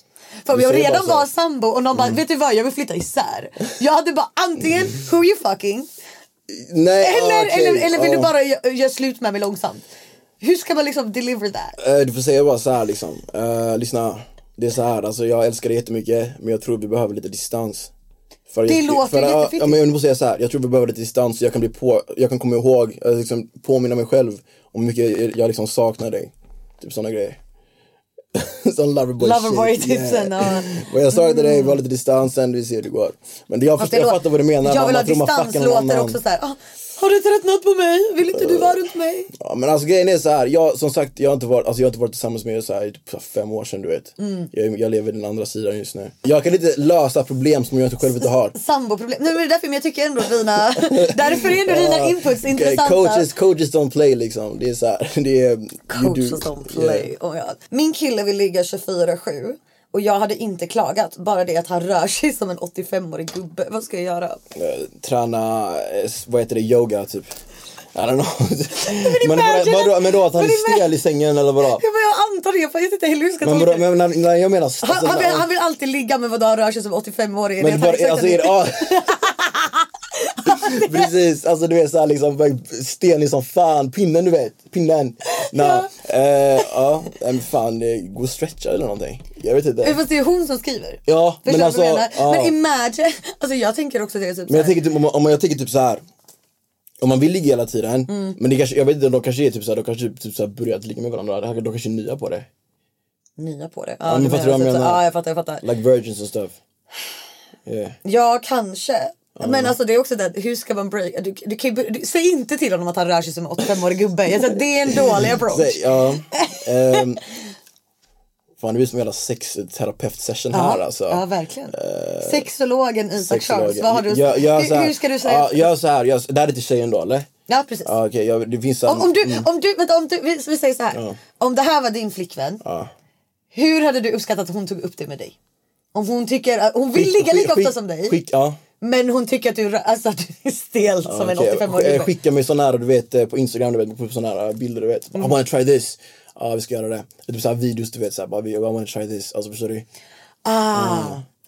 För om Du jag säger redan bara så Mm. här. var sambo och någon bara vet du vad jag vill flytta isär. Jag hade bara antingen who you fucking Nej, Mm. ah, eller, okej, eller, eller vill ah. du bara gö- göra slut med mig långsamt? Hur ska man liksom deliver that? Eh, Du får säga bara så här liksom. Eh, lyssna, det är så här. Alltså, jag älskar dig jättemycket men jag tror vi behöver lite distans. För Det jag, låter för, ja, jättefittigt. ja, men Jag måste säga så här. jag tror vi behöver lite distans så jag kan, bli på, jag kan komma ihåg, eh, liksom, påminna mig själv om hur mycket jag, jag liksom saknar dig. Typ sådana grejer. Sån loverboy shit. Loverboy-tipsen. ja. Men jag saknar dig, vi har lite distans sen, vi ser hur det går. Men det, jag, Fast förstår, jag lå- fattar vad du menar. Jag man- vill ha man tror man distans fuckar någon låter annan. också såhär. Ah, har du tröttnat på mig? Vill inte du vara runt mig? Ja, men alltså grejen är så här, jag, som sagt jag har inte varit, alltså, jag har inte varit tillsammans med er så här, i typ så här fem år sedan du vet. Mm. Jag, jag lever den andra sidan just nu. Jag kan inte lösa problem som jag inte själv inte har. Samboproblem. Nej men det är därför men jag tycker ändå dina... därför är ändå dina inputs intressanta. Ah, eh, Coaches, coaches don't play liksom. Det är så här, det är... you coaches do- eh, som play. Oh my God. Min kille vill ligga 24-7 och jag hade inte klagat. Bara det att han rör sig som en 85-årig gubbe. Vad ska jag göra? Yeah. Eh, Träna, eh, s- vad heter det, yoga typ. I don't know. men, imagine- vadå, vadå, men då att han men är stel i sängen eller vadå? Ja, men jag antar det för jag vet inte heller hur jag ska Men, tolka vadå, det. men, men, men jag menar... Alltså, Han, han, vill, han vill alltid ligga med vadå han rör sig som 85-årig. Men bara, alltså är det, ja. Precis, alltså du vet såhär liksom stenig som fan, pinnen du vet, pinnen. Nah. Ja. ja, nej, men fan, det- gå och stretcha eller någonting. Jag vet inte. Eh, Fast det är hon som skriver. Ja, Förstår men du alltså, vad jag menar? ja. Men imagine. Alltså jag tänker också det. Typ Men såhär. jag tänker typ, om, man- om jag tänker typ så här. Om man vill ligga hela tiden, men det kanske, jag vet inte, de kanske är typ såhär, de kanske typ, typ såhär börjat ligga med varandra, de kanske är nya på det. nya på det. men du fattar du vad jag typ så- menar? Ja, jag fattar, jag fattar. Like virgins and stuff. Yeah. Ja, kanske. Men alltså det är också det, hur ska man break? Du, du kan ju, du, säg inte till honom att han rör sig som en 85-årig gubbe. Jag säger, det är en dålig approach. Säg, ja. Ehm, fan det blir som en jävla sexterapeut-session här alltså. Eh, ja, verkligen. Sexologen Isak Charles, Sexologen. vad har du Gör- gör så hur, här. hur ska du säga? Ja, gör så här, gör så, det här är till tjejen då eller? Ja, precis. Ja, okej, jag- det finns Om, om du, Mm. om du, vänta, om du vi, vi säger så här. Om det här var din flickvän. Hur hade du uppskattat att hon tog upp det med dig? Om hon tycker att hon vill ligga lika ofta som dig. Skick, ja. Men hon tycker att du, rö- alltså, att du är stel som en Okej, 85-årig eh, gubbe. Skicka mig sådana här du vet eh, på Instagram, du vet, på sådana här eh, bilder du vet. Mm. I wanna try this. Ja vi ska göra det. Typ såhär videos du vet såhär, bara, I wanna try this. Alltså förstår du? Ah,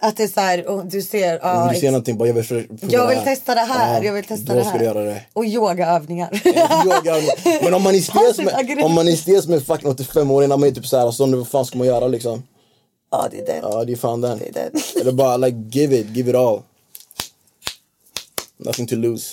Att det är så här, och du ser. Om Ah, Mm. du ser någonting bara jag vill prova jag det vill testa det här. Ja, jag vill testa Då det här. ska du göra det. Och yogaövningar. Yoga. Men om man är stel som Passivt en- aggressiv. om man är stel som en fucking 85-åring, när man är typ såhär, alltså, vad fan ska man göra liksom? ja, det är den. Ja det är fan den. Det är den. Eller bara like give it, give it all. Nothing to lose.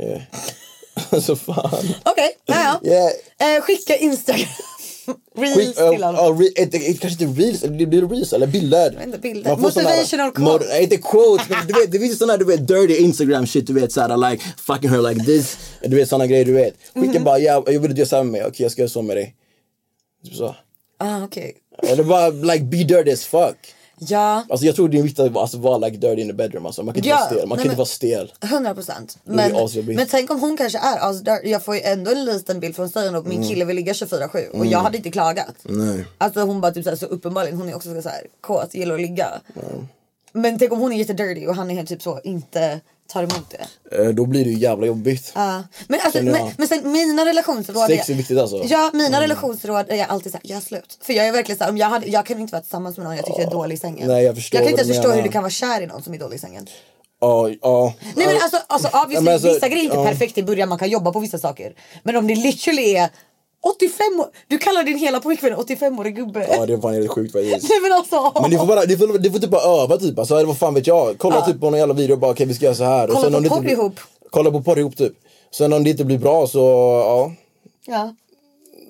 Yeah. Alltså fan. Okej, Mm. ja, ja. Yeah. Eh, skicka Instagram. Reels Quick, uh, till honom. uh, re- ett- ett- kanske inte reels, eller det blir reels eller bilder. inte, bilder. Man får såna här- Motivational quotes. nej, inte quotes, men du vet, det finns sådana du vet dirty Instagram shit du vet såhär like fucking her like this. Du vet såna grejer du vet. Skicka Mm-hmm. bara ja, jag vill att du gör så här med mig, okej jag ska göra så med dig. Typ så. Ah, okej. Eller bara like be dirty as fuck. Ja. Alltså jag tror det är viktigt att alltså, vara like dirty in the bedroom alltså. Man kan inte Ja, vara stel, man nej, kan men- inte vara stel. 100 procent. Det blir Men, asjobbigt. men tänk om hon kanske är asdirty. Jag får ju ändå en liten bild från Stein och min kille vill ligga 24-7 och jag hade inte klagat. Mm. Nej. Alltså hon bara typ såhär, så uppenbarligen, hon är också såhär kåt, gillar att ligga. Men tänk om hon är jättedirty och han är helt typ så inte tar emot det. Eh, Då blir det ju jävla jobbigt. Ja. Men, alltså, Känner jag. men, men sen mina relationsråd. Sex är viktigt alltså. Ja, mina relationsråd är jag alltid såhär, gör slut. För jag är verkligen såhär, om jag, hade, jag kan inte vara tillsammans med någon jag tycker är dålig i sängen. Nej, jag förstår kan vad inte du ens förstå menar. hur du kan vara kär i någon som är dålig i sängen. Ja, ja. Nej men alltså, alltså obviously, Ja, men alltså, vissa grejer är inte ja. perfekt i början, man kan jobba på vissa saker. Men om det literally är 85 år, du kallar din hela pojkvän 85-årig gubbe. Ja det är fan helt sjukt faktiskt. Nej men alltså. Men du får, bara, du, får, du får typ bara öva typ, alltså, eller vad fan vet jag. Kolla typ på någon jävla video och bara okej vi ska göra så här. Kolla och sen på om det inte porr blir- ihop. Kolla på porr ihop typ. Sen om det inte blir bra så, ja. ja.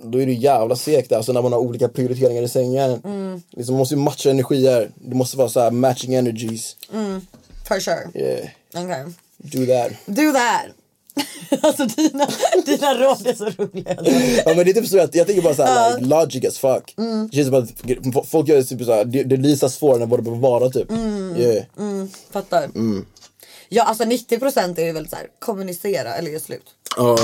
Då är det jävla segt alltså när man har olika prioriteringar i sängen. Mm. Liksom, man måste ju matcha energier. Det måste vara så här matching energies. For sure. Yeah. Okay. Do that. Do that. alltså dina, dina råd är så roliga. Ja men det är typ så att jag tänker bara såhär like, logic as fuck. Det känns som att f- folk gör typ såhär, det, det lyser svårare än vad det behöver vara typ. Yeah. Fattar. Mm. Ja alltså 90% är ju väl såhär kommunicera eller göra slut. Ja.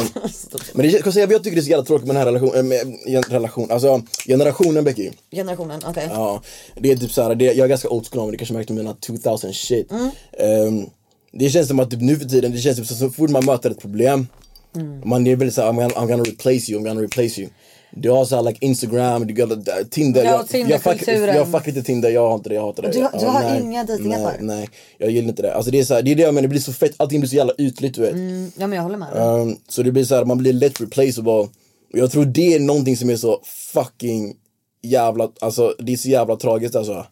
Men det, känns- jag tycker det är så jävla tråkigt med den här relationen, med gen- relation, alltså generationen Becky. Generationen, okej. Ja, det är typ såhär, det, jag är ganska old school men det kanske märkte med mina 2000 shit. Mm. Ehm, det känns som att typ, nu för tiden, det känns typ så, så fort man möter ett problem, Mm. man är väldigt såhär I'm, gonna- I'm gonna replace you, I'm gonna replace you. Du har såhär like Instagram, du har Tinder. Ja, jag, jag, fuck, Tinderkulturen. jag fuck lite Tinder, jag har inte det, jag hatar det. Du har- du Ja, har nej, inga dejtingappar? Nej, nej, jag gillar inte det. Alltså det är såhär, det är det jag menar, det blir så fett, allting blir så jävla ytligt du vet. Ja men jag håller med. Um, så det blir så här, man blir lätt replaceable. Och jag tror det är någonting som är så fucking jävla, alltså det är så jävla tragiskt alltså.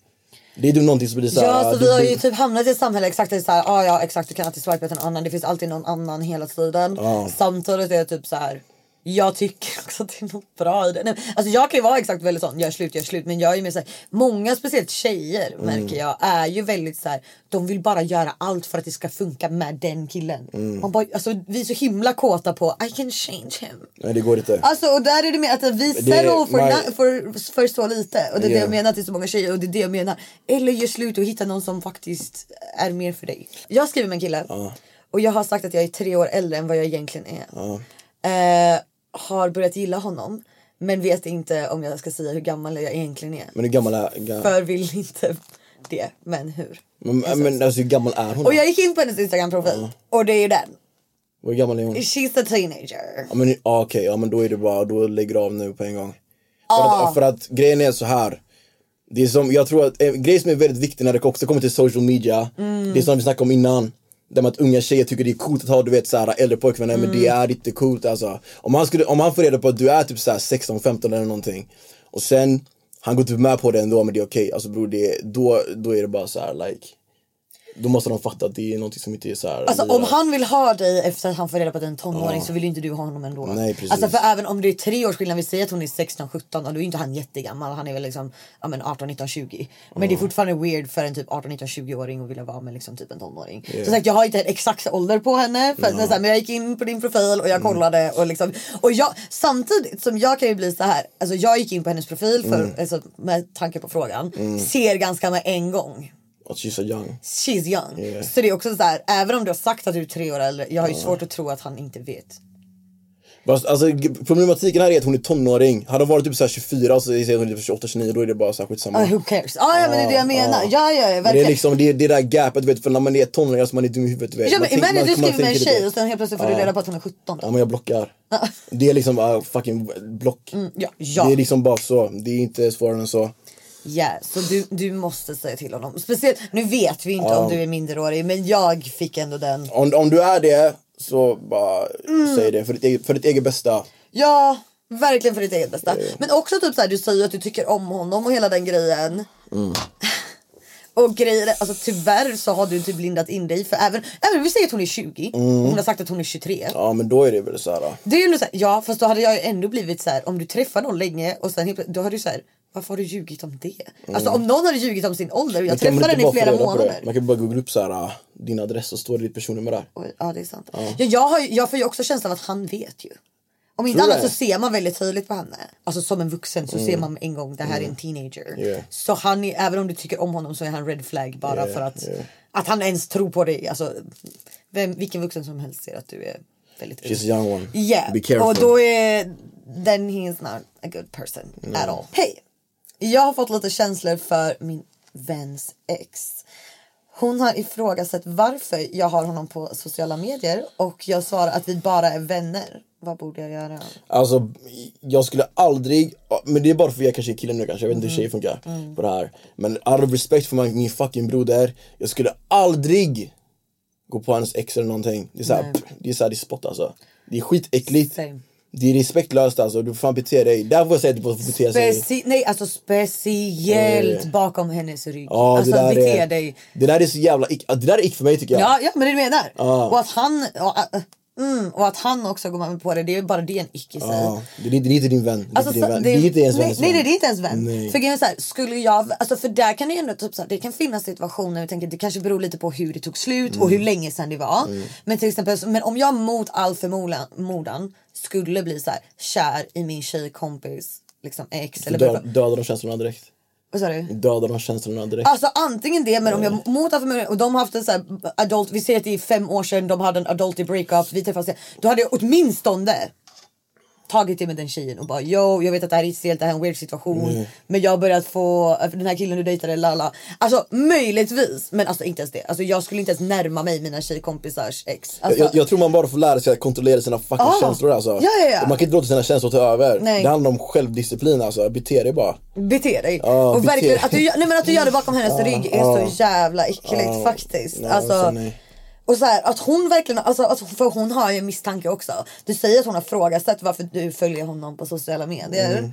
Det är typ någonting som blir så här, Ja, så det vi har blir- ju typ hamnat i ett samhälle exakt det är så här, ah, ja exakt du kan alltid swipa åt en annan, det finns alltid någon annan hela tiden. Samtidigt är det typ så här. Jag tycker också att det är något bra i det. Nej, men, alltså jag kan ju vara exakt väldigt sån, gör slut, gör slut. Men jag är mer såhär, många speciellt tjejer Mm. märker jag är ju väldigt så här. de vill bara göra allt för att det ska funka med den killen. Mm. Man bara, alltså, vi är så himla kåta på I can change him. Nej det går inte. Alltså och där är det med att vi Det är- settle for, nej. na- för, för så lite och det är det Yeah. jag menar till så många tjejer och det är det jag menar. Eller gör slut och hitta någon som faktiskt är mer för dig. Jag skriver med en kille och jag har sagt att jag är tre år äldre än vad jag egentligen är. Eh, har börjat gilla honom men vet inte om jag ska säga hur gammal jag egentligen är. Men hur gammal är, ga, För vill inte det, men hur? men, men alltså hur gammal är hon? då? Och jag gick in på hennes instagram profil och det är ju den. Hur gammal är hon? She's a teenager. Ja men ja, okej, ja men då är det bara, då lägger du av nu på en gång. För, att, för att grejen är så här. Det är som, jag tror att en grej som är väldigt viktig när det också kommer till social media, det är som vi snackade om innan. Där med att unga tjejer tycker det är coolt att ha du vet såhär äldre pojkvänner, men det är inte coolt alltså. Om han, skulle, om han får reda på att du är typ såhär 16, 15 eller någonting och sen han går typ med på det ändå men det är okej, alltså bror det, är- då, då är det bara såhär like Då måste de fatta att det är något som inte är så här. eh, Alltså om han vill ha dig efter att han får reda på att du är en tonåring så vill ju inte du ha honom ändå. Nej, precis. Alltså för även om det är tre års skillnad, vi säger att hon är 16, 17 och då är inte han jättegammal. Han är väl liksom ja, men 18, 19, 20. Men det är fortfarande weird för en typ 18, 19, 20-åring att vilja vara med liksom typ en tonåring. Som sagt jag har inte en exakt ålder på henne för, men, så här, men jag gick in på din profil och jag Mm. kollade och liksom och jag samtidigt som jag kan ju bli så här. Alltså jag gick in på hennes profil för, Mm. alltså, med tanke på frågan. Ser ganska med en gång Att she's so young. she's young. Yeah. Så det är också så här, även om du har sagt att du är tre år äldre, jag har ju svårt att tro att han inte vet. Fast, Alltså, g- problematiken här är att hon är tonåring. Hade hon varit typ så här 24 och så säger hon typ 28, 29 då är det bara så här skitsamma. Ah, who cares? Ah, ja men det är det jag menar. Ja ja, ja Men det är verkligen. liksom det, det där gapet du vet för när man är tonåring alltså man är dum i huvudet du vet. Ja, Man men, tänker- imagine man- du man skriver med en tänker det. tjej och sen helt plötsligt får du reda på att hon är 17. Ja men jag blockar. det är liksom ah, fucking block. ja, Mm, ja. Det är liksom bara så. Det är inte svårare än så. Ja, så du, du måste säga till honom. Speciellt, nu vet vi ju inte om du är minderårig men jag fick ändå den. Om, om du är det så bara Mm. säg det för ditt, eget, för ditt eget bästa. Ja, verkligen för ditt eget bästa. Men också typ så här, du säger att du tycker om honom och hela den grejen. Mm. Och grejer, alltså tyvärr så har du typ lindat in dig för även, även om vi säger att hon är 20 och hon har sagt att hon är 23. Mm. Ja men då är det väl så här. ah. Det är ju ändå så här, ja fast då hade jag ju ändå blivit så här om du träffar någon länge och sen helt plötsligt- då har du så här varför har du ljugit om det? Alltså om någon hade ljugit om sin ålder och jag kan man träffade inte henne i bara få flera reda på Mm. det? månader. Man kan bara googla upp så här, ah, din adress och står det ditt personnummer där. Oj, ja det är sant. Ja, jag, har, ju- jag får ju också känslan att han vet ju. Om inte Tror du annat så det? ser man väldigt tydligt på henne. Alltså som en vuxen så ser man en gång det här är en teenager. Mm. Yeah. Så han är, även om du tycker om honom så är han red flag bara Yeah, för att, yeah. att han ens tror på dig. Alltså, vem, vilken vuxen som helst ser att du är väldigt ung. She's a young one. Yeah. Be careful. Och då är then he is not a good person at all. Hej! Jag har fått lite känslor för min väns ex. Hon har ifrågasatt varför jag har honom på sociala medier och jag svarar att vi bara är vänner. Vad borde jag göra? Alltså jag skulle aldrig, men det är bara för att jag kanske är kille nu kanske, jag vet inte hur tjejer funkar Mm. på det här. Men out of respect för min fucking broder, jag skulle aldrig gå på hans ex eller någonting. Det är såhär, pff, det är såhär, det är spott alltså. Det är skitäckligt. Same. Det är respektlöst alltså, du får fan bete dig. Där får jag säga att du får bete sig. Speci- nej, alltså speciellt bakom hennes rygg. Eh. Ja, alltså det där bete är, dig. Det där är så jävla ick, det där är ick för mig tycker jag. Ja, ja men det är det jag menar. Och att han och, äh, mm, och att han också går med på det, det är ju bara det en ick i sig. Ja, det, är inte- det är inte din vän. Det är Alltså, inte din så- vän. Det är inte ens nej, väns nej, nej, vän. det är inte ens vän. Nej. För, grejen är så här, skulle jag, alltså för där kan det ju ändå typ så här, det kan finnas situationer jag tänker, det kanske beror lite på hur det tog slut och Mm. hur länge sedan det var. Men till exempel men om jag mot all förmodan modan skulle bli så här, kär i min tjejkompis liksom ex eller Dö- Dödar de känslorna direkt. vad sa du? Dödar de känslorna direkt. Alltså antingen det men om jag mot all förmodan och de har haft en så här adult, vi säger att det är fem år sedan de hade en adult i breakup, vi träffas igen. Då hade jag åtminstone tagit det med den tjejen och bara yo jag vet att det här är stelt, det här är en weird situation men jag har börjat få, eh, den här killen du dejtade lala. Alltså möjligtvis men alltså inte ens det. Alltså jag skulle inte ens närma mig mina tjejkompisars ex. Alltså, jag, jag tror man bara får lära sig att kontrollera sina fucking Ah. känslor alltså. Ja, ja, ja. Man kan inte låta sina känslor ta över. Nej. Det handlar om självdisciplin alltså, bete dig bara. Bete dig. Ja, och bete verkligen, dig. att du, gör- nej, men att du gör det bakom hennes rygg är så jävla äckligt Ja. faktiskt. Nej, alltså, alltså, nej. och så här, att hon verkligen, alltså, alltså, för hon har ju en misstanke också. Du säger att hon har frågat varför du följer honom på sociala medier.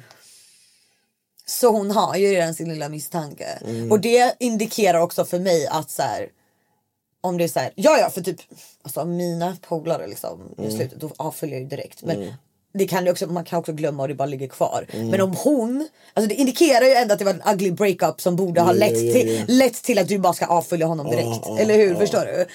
Så hon har ju redan sin lilla misstanke. Mm. Och det indikerar också för mig att så här, om det är så här, ja ja för typ alltså mina polare liksom i Mm. slutet då avföljer jag ju direkt. Men det kan ju också, man kan också glömma och det bara ligger kvar. Mm. Men om hon, alltså det indikerar ju ändå att det var en ugly breakup som borde ha Ja, lett, ja, till, ja. lett till att du bara ska avfölja honom direkt. ja, eller hur? Förstår du?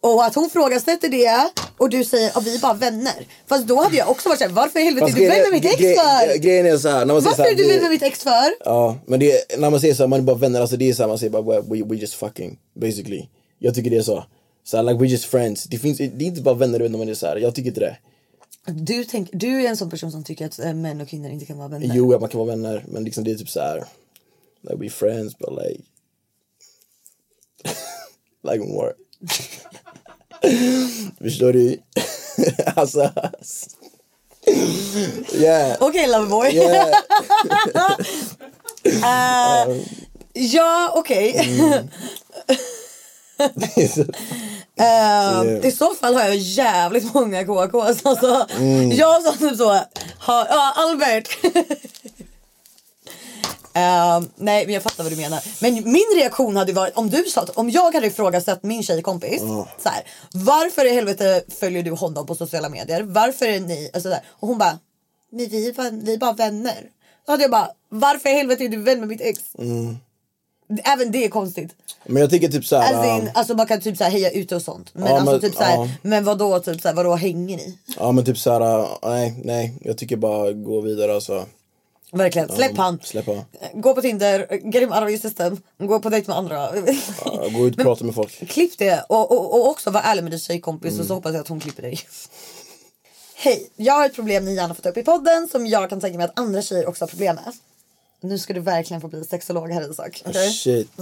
Och att hon ifrågasätter det och du säger att vi är bara vänner. Fast då hade jag också varit såhär, varför i helvete är Fast du vän grejen med är- mitt ex gre- för? gre- Grejen är så här, när man säger Varför så här, är du det- vän med mitt ex för? Ja, men det, är- när man säger så här, man är bara vänner, alltså det är så här, man säger bara we, we, we just fucking basically. Jag tycker det är så. Så här, like we just friends. Det, finns, det är inte bara vänner du vet när man är så här. jag tycker inte det. Du, tänk, du är en sån person som tycker att eh, män och kvinnor inte kan vara vänner. Jo, att man kan vara vänner, men liksom det är typ så här. Like we friends but like... like more. Förstår du? alltså... yeah. Okej Loveboy. yeah. Eh, ja, okej. Ehm, Yeah. I så fall har jag jävligt många KKs. Alltså, Jag som typ så, har, ja Albert. Ehm, nej men jag fattar vad du menar. Men min reaktion hade ju varit om du sa att om jag hade ifrågasatt min tjejkompis. Så här, varför i helvete följer du honom på sociala medier? Varför är ni alltså, så här, Och hon bara. Men vi, är bara- vi är bara vänner. Då hade jag bara. Varför i helvete är du vän med mitt ex? Även det är konstigt. Men jag tycker typ såhär... As in, ähm, alltså man kan typ så här heja ute och sånt. Men Ja, alltså men- typ så här, ja. men vadå typ så här, vadå hänger ni? Ja men typ såhär, äh, nej, nej. Jag tycker bara gå vidare alltså. Verkligen, släpp han. Släpp han. Gå på Tinder, grym arvig system, gå på dejt med andra. Ja, Gå ut och prata med folk. Klipp det och, och, och också var ärlig med din tjejkompis Mm. och så hoppas jag att hon klipper dig. Hej, jag har ett problem ni gärna får ta upp i podden som jag kan tänka mig att andra tjejer också har problem med. Nu ska du verkligen få bli sexolog här Isak. okej? Mm. Shit.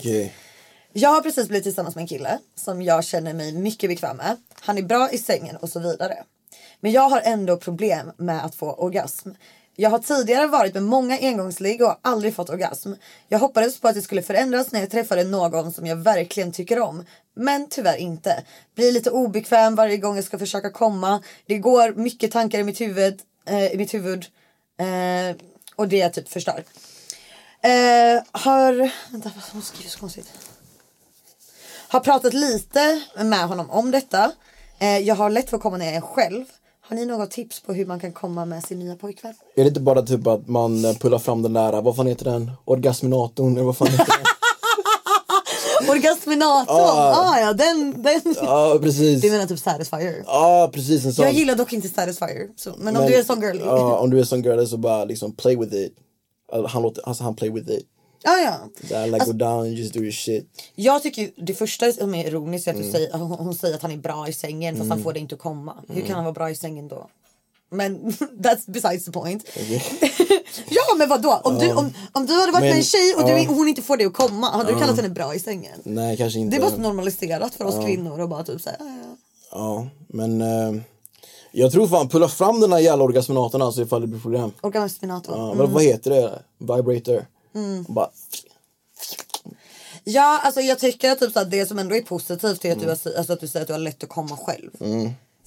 Okej. Jag har precis blivit tillsammans med en kille som jag känner mig mycket bekväm med. Han är bra i sängen och så vidare. Men jag har ändå problem med att få orgasm. Jag har tidigare varit med många engångsligg och har aldrig fått orgasm. Jag hoppades på att det skulle förändras när jag träffade någon som jag verkligen tycker om. Men tyvärr inte. Blir lite obekväm varje gång jag ska försöka komma. Det går mycket tankar i mitt huvud. Eh, i mitt huvud eh, och det typ förstör. Eh, har... Vänta, vad hon skriver så konstigt har pratat lite med honom om detta. Eh, jag har lätt för att komma när jag är själv. Har ni något tips på hur man kan komma med sin nya pojkvän? Är det inte bara typ att man eh, pullar fram den där, vad fan heter den? Orgasminatorn eller vad fan heter den? Orgasminatorn! Ah. ja, den, den. Ja precis. Du menar typ Satisfyer? Ja precis en sån. Jag gillar dock inte Satisfyer, så, men, om Men- du är en sån girly. Ja, Ja om du är en sån girl så bara liksom play with it. Alltså, han låter, alltså han play with it. ja. Där, like Alltså- go down, just do your shit. Jag tycker ju, det första som är ironiskt är Mm. att du säger, hon, hon säger att han är bra i sängen fast han får det inte att komma. Hur Mm. kan han vara bra i sängen då? Men that's besides the point. ja men vadå? Om du, om, om du hade varit med Men- en tjej och du, ja. hon inte får det att komma, hade du kallat henne bra i sängen? Nej kanske inte. Det är bara så normaliserat för oss kvinnor att bara typ säga ja, ja. Ja men eh, jag tror fan pulla fram den där jävla orgasminatorn alltså ifall det blir problem. Orkar med spinator. Ja, vad, vad heter det? Vibrator. Mm. Bara, Ja, alltså jag tycker att typ så att det som ändå är positivt är att, du, har, alltså att du säger att du har lätt att komma själv.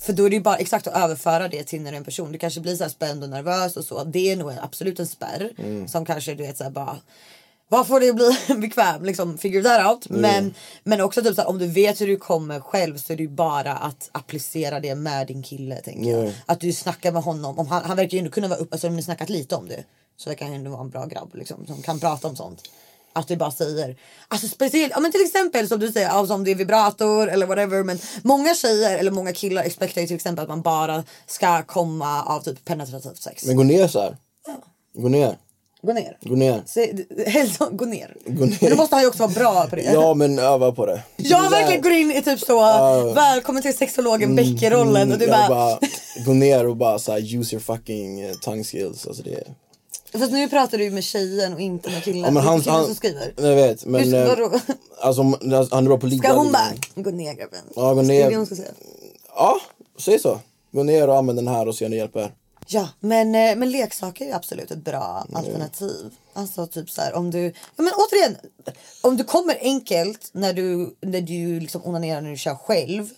För då är det ju bara exakt att överföra det till när du är en person. Du kanske blir så här spänd och nervös och så. Det är nog en, absolut en spärr som kanske du vet så här bara. Vad får det bli bekväm liksom figure that out. Men, men också typ så här, om du vet hur du kommer själv så är det ju bara att applicera det med din kille tänker jag. Att du snackar med honom. Om han, han verkar ju ändå kunna vara uppe, alltså om ni snackat lite om det. Så verkar han ju ändå vara en bra grabb liksom som kan prata om sånt. Att du bara säger, alltså speciellt, ja men till exempel som du säger, alltså om det är vibrator eller whatever. Men många tjejer eller många killar expectar ju till exempel att man bara ska komma av typ penetrativt sex. men gå ner så här. Gå ner. Gå ner. Gå ner. Se, d- helst, gå ner. Gå ner. Men då måste han ju också vara bra på det. Ja men öva på det. Jag verkligen går in i typ så, välkommen till sexologen Becker-rollen och du Mm, Jag bara, gå ner och bara så här, use your fucking eh, tongue skills. Alltså det är... fast nu pratar du ju med tjejen och inte med killen. Ja, Det men är han, killen han, som skriver. Jag vet men Hur- eh, vadå? alltså, om- alltså, han är bra Ska på ligan. hon bara, gå ner grabben. Ja, gå Det är ner. det hon ska säga. Ja, säg så. Gå ner och använd den här och se om det hjälper. Ja, men, eh, men leksaker är ju absolut ett bra alternativ. Alltså typ så här om du, ja, men återigen, om du kommer enkelt när du, när du liksom onanerar när du kör själv.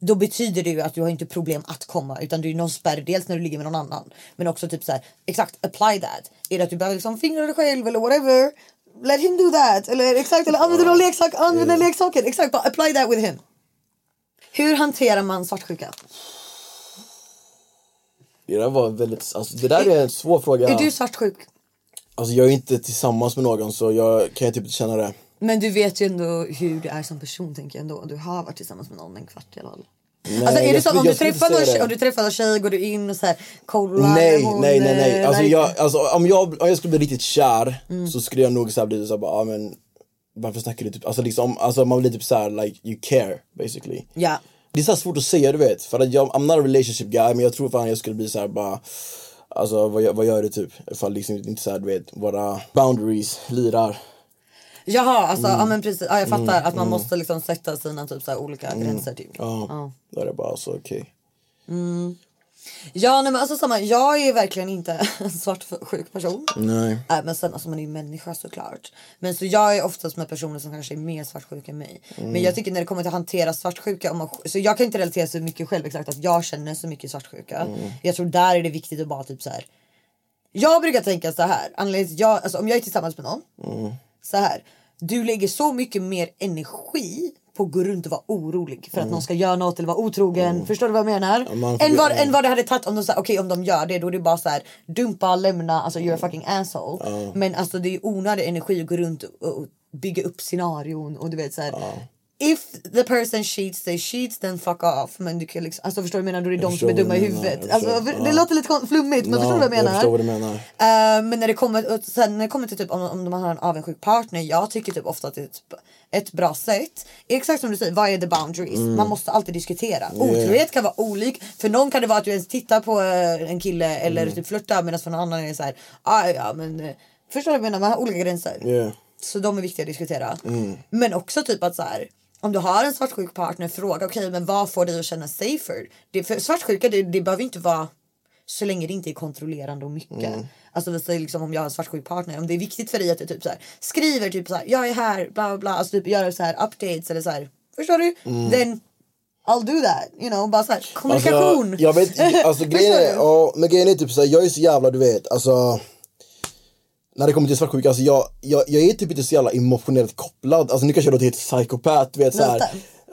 Då betyder det ju att du har inte problem att komma utan det är ju någon spärr dels när du ligger med någon annan. Men också typ så här, exakt apply that. Är det att du behöver liksom fingra dig själv eller whatever. Let him do that. Eller exakt, eller använder någon leksak, använder leksaken. Exakt, bara apply that with him. Hur hanterar man svartsjuka? Det där var väldigt, alltså, det där är en svår fråga. Är du svartsjuk? Alltså jag är inte tillsammans med någon så jag kan ju typ inte känna det. Men du vet ju ändå hur du är som person tänker jag ändå. Du har varit tillsammans med någon en kvart i alla fall. alltså är jag det så att skulle- om du jag skulle inte träffar någon säga tjej, det. om du träffar någon tjej går du in och så här kollar Nej, hon, nej, nej, nej. eh, Mm. Alltså, like- jag, alltså, om, jag, om jag skulle bli riktigt kär så skulle jag nog så här bli såhär bara, ah, men varför snackar du typ, alltså liksom, alltså man blir typ såhär like you care basically. Ja. Det är så här svårt att säga du vet, för att jag, I'm not a relationship guy men jag tror fan jag skulle bli såhär bara Alltså vad, gör- vad gör du typ? Ifall liksom inte såhär du vet, våra boundaries lirar. Jaha, alltså ja Mm. men precis. Ja, jag fattar att man måste liksom sätta sina typ så här olika gränser typ. Mm. Ja. Då är det bara alltså okej. Ja nej, men alltså samma, jag är verkligen inte en svartsjuk person. Nej. Nej men sen alltså man är ju människa såklart. Men så jag är oftast med personer som kanske är mer svartsjuka än mig. Men jag tycker när det kommer till att hantera svartsjuka. Om man, så jag kan inte relatera så mycket själv exakt att jag känner så mycket svartsjuka. Jag tror där är det viktigt att bara typ så här. Jag brukar tänka så här. Anledningen till att jag, alltså, om jag är tillsammans med någon. Mm. Så här. Du lägger så mycket mer energi på att gå runt och vara orolig för att någon ska göra något eller vara otrogen. Förstår du vad jag menar? Mm. man får än, göra vad, det. än vad det hade tagit om de, så här, okej, om de gör det. Då är det bara så här, dumpa, lämna, alltså you're a fucking asshole. Men alltså det är ju onödig energi att gå runt och, och bygga upp scenarion och du vet så här. If the person cheats, they cheats, then fuck off. Men du kan liksom, alltså förstår du vad jag menar? Då är det de som förstår är dumma vad i du menar, jag huvudet. förstår. Alltså, det Ja. låter lite kon- flummigt men förstår du vad jag menar? Jag förstår vad du menar. Eh, men när det kommer, och sen när det kommer till typ om, om man har en avundsjuk partner. Jag tycker typ ofta att det är typ ett bra sätt. är Exakt som du säger, vad är the boundaries? Man måste alltid diskutera. Otrohet kan vara olik. För någon kan det vara att du ens tittar på eh, en kille eller typ flörtar medan för någon annan är det så här. Ah, ja, men, eh, förstår du vad jag menar? Man har olika gränser. Yeah. Så de är viktiga att diskutera. Mm. Men också typ att så här. Om du har en svartsjuk partner, fråga okej men vad får dig att känna safer? Det, för svartsjuka det, det behöver inte vara så länge det inte är kontrollerande och mycket. Mm. Alltså vi säger liksom om jag har en svartsjuk partner, om det är viktigt för dig att du typ så här, skriver typ så här, jag är här, bla bla bla, alltså typ göra så här updates eller så här. Förstår du? Then I'll do that, you know, bara så här kommunikation. Mm. Alltså, jag vet, alltså grejen Förstår är, du? ja, men grejen är typ såhär, jag är så jävla du vet, alltså när det kommer till svartsjuka, alltså jag, jag, jag är typ inte så jävla emotionellt kopplad, alltså nu kanske jag låter helt psykopat, du vet såhär. Vänta.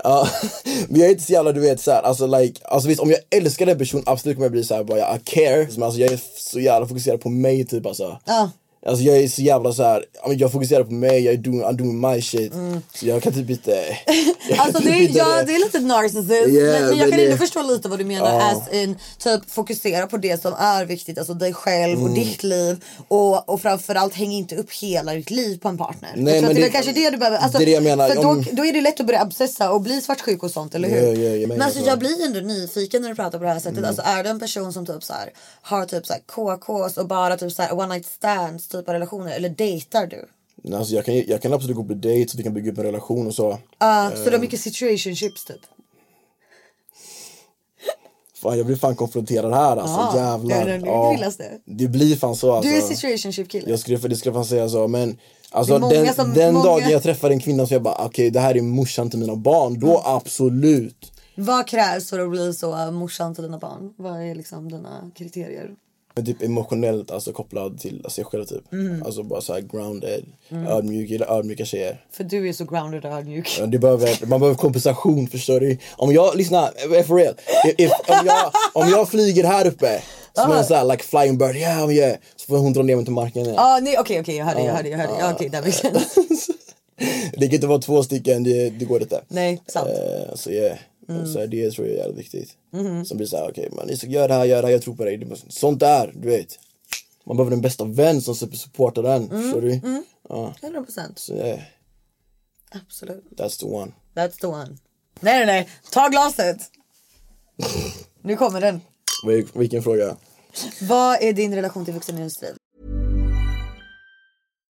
Ja, men jag är inte så jävla du vet såhär, alltså like, alltså visst om jag älskar den personen absolut kommer jag bli såhär bara I care, men alltså jag är så jävla fokuserad på mig typ alltså. Ja. Alltså jag är så jävla såhär, ja, men jag fokuserar på mig, jag är doing, I'm doing my shit. Mm. Så jag kan typ inte... jag kan Alltså typ det, är- inte- ja, det är lite narcissism. Yeah, men, men jag men kan det- ändå förstå lite vad du menar. As in, typ, fokusera på det som är viktigt. Alltså dig själv Mm. och ditt liv. Och, och framförallt häng inte upp hela ditt liv på en partner. Nej, jag tror men att det, det- är kanske det du behöver. Alltså, det är det jag menar. För då, Om- då är det lätt att börja obsessa och bli svartsjuk och sånt. Eller hur? Ja, ja, jag Mm. menar men alltså, så. jag blir ändå nyfiken när du pratar på det här sättet. Alltså, är det en person som typ så här, har typ så här, KKs och bara typ så här, one night stands typ av relationer? Eller dejtar du? Nej, Alltså jag, kan, jag kan absolut gå på dejt så vi kan bygga upp en relation och så. Ja, Så Eh. det är mycket situationships typ? Fan, jag blir fan konfronterad här alltså. Ja, Jävlar. det är det. Ja. Grillas det? det blir fan så alltså. Du är situationship kille. jag skulle, det skulle fan säga så men alltså Det är många den, som- den många- dagen jag träffar en kvinna så jag bara okej det här är morsan till mina barn, Mm. då absolut. Vad krävs för att bli så äh, morsan till dina barn? Vad är liksom dina kriterier? Men typ emotionellt alltså kopplad till sig själv typ. Mm. Alltså bara såhär grounded, ödmjuk, gillar ödmjuka tjejer. För du är så grounded och ödmjuk. Men Det behöver, man behöver kompensation förstår du. Om jag, lyssna, eh, for real. If, if, om, jag, om jag flyger här uppe som Ah. en sån här like flying bird, yeah, yeah, så får hon dra ner mig till marken igen. Ja, ah, nej okej okej jag hörde jag hörde jag hörde. Ja, okej that makes sense. Det kan inte vara två stycken, det, det går inte. Nej, sant. Eh, så yeah. Så här, det tror jag är jävligt viktigt. Som blir såhär, okej man Isak, gör det här, gör det här, jag tror på dig. Det är bara så- Sånt där, du vet. Man behöver en bästa vän som sup- supportar den, förstår du? 100%. Så yeah, Absolut. that's the one. That's the one. Nej nej nej, ta glaset! Nu kommer den. Vil- Vilken fråga? Vad är din relation till vuxenindustrin?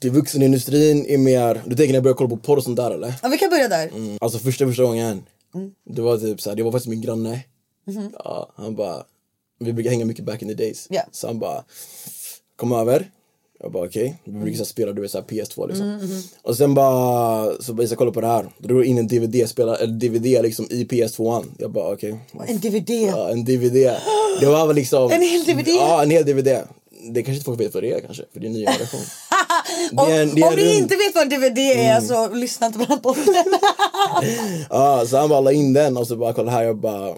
Till vuxenindustrin är mer, du tänker när jag började kolla på porr och sånt där eller? Ja, vi kan börja där. Alltså första första gången Mm. Det var typ såhär, det var faktiskt min granne ja, Han bara Vi brukar hänga mycket back in the days Mhm. Ja. Så han bara Kom över Jag bara okej Vi Mm. brukar så här spela du vet såhär PS2 liksom Och sen bara Så bara jag ska kolla på det här Då drog jag in en DVD-spelare, eller DVD liksom i PS2an Jag bara okej En DVD. Ja, en DVD. Det var väl liksom... En hel DVD? Ja, en hel DVD. det kanske inte folk vet vad det är kanske, för det är en ny generation. Det Om, är en- det är om en ni rund- Mm. inte vet vad DVD är så lyssna inte på den här podden. Ja, så Alltså, han bara la in den och så bara kolla här, jag bara...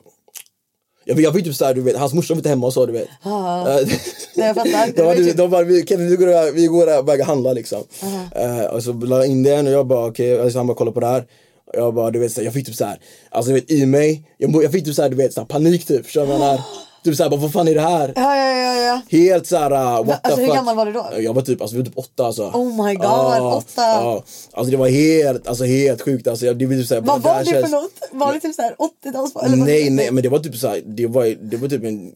Jag, fick- jag fick typ såhär, du vet, hans morsa var inte hemma och så, du vet. Eh, Nej, jag fattar. de, var, Ah. Det var de, typ- de bara, vi, Kevin vi går och, vi går och börjar handla liksom. Ah. Eh, och så la jag in den och jag bara okej, alltså, han bara kolla på det här. Och Jag bara, du vet, så här, jag fick typ såhär, alltså du vet i mig, jag, må- jag fick typ såhär, du vet, så här, panik typ. Förstår du vad jag Ah. menar? Typ såhär, bara, vad fan är det här? ja, ja, ja, ja. Helt såhär, uh, what alltså, the hur fuck. gammal var du då? Jag var typ, alltså, vi var typ åtta alltså. Oh my god, Ja, åtta. ja. Alltså det var helt, alltså helt sjukt. Alltså, jag, det var typ såhär, Vad var bara, här det för känns- något? Var det typ såhär 80-talsbarn? eller vad- Nej nej men det var typ såhär, det var, det var typ en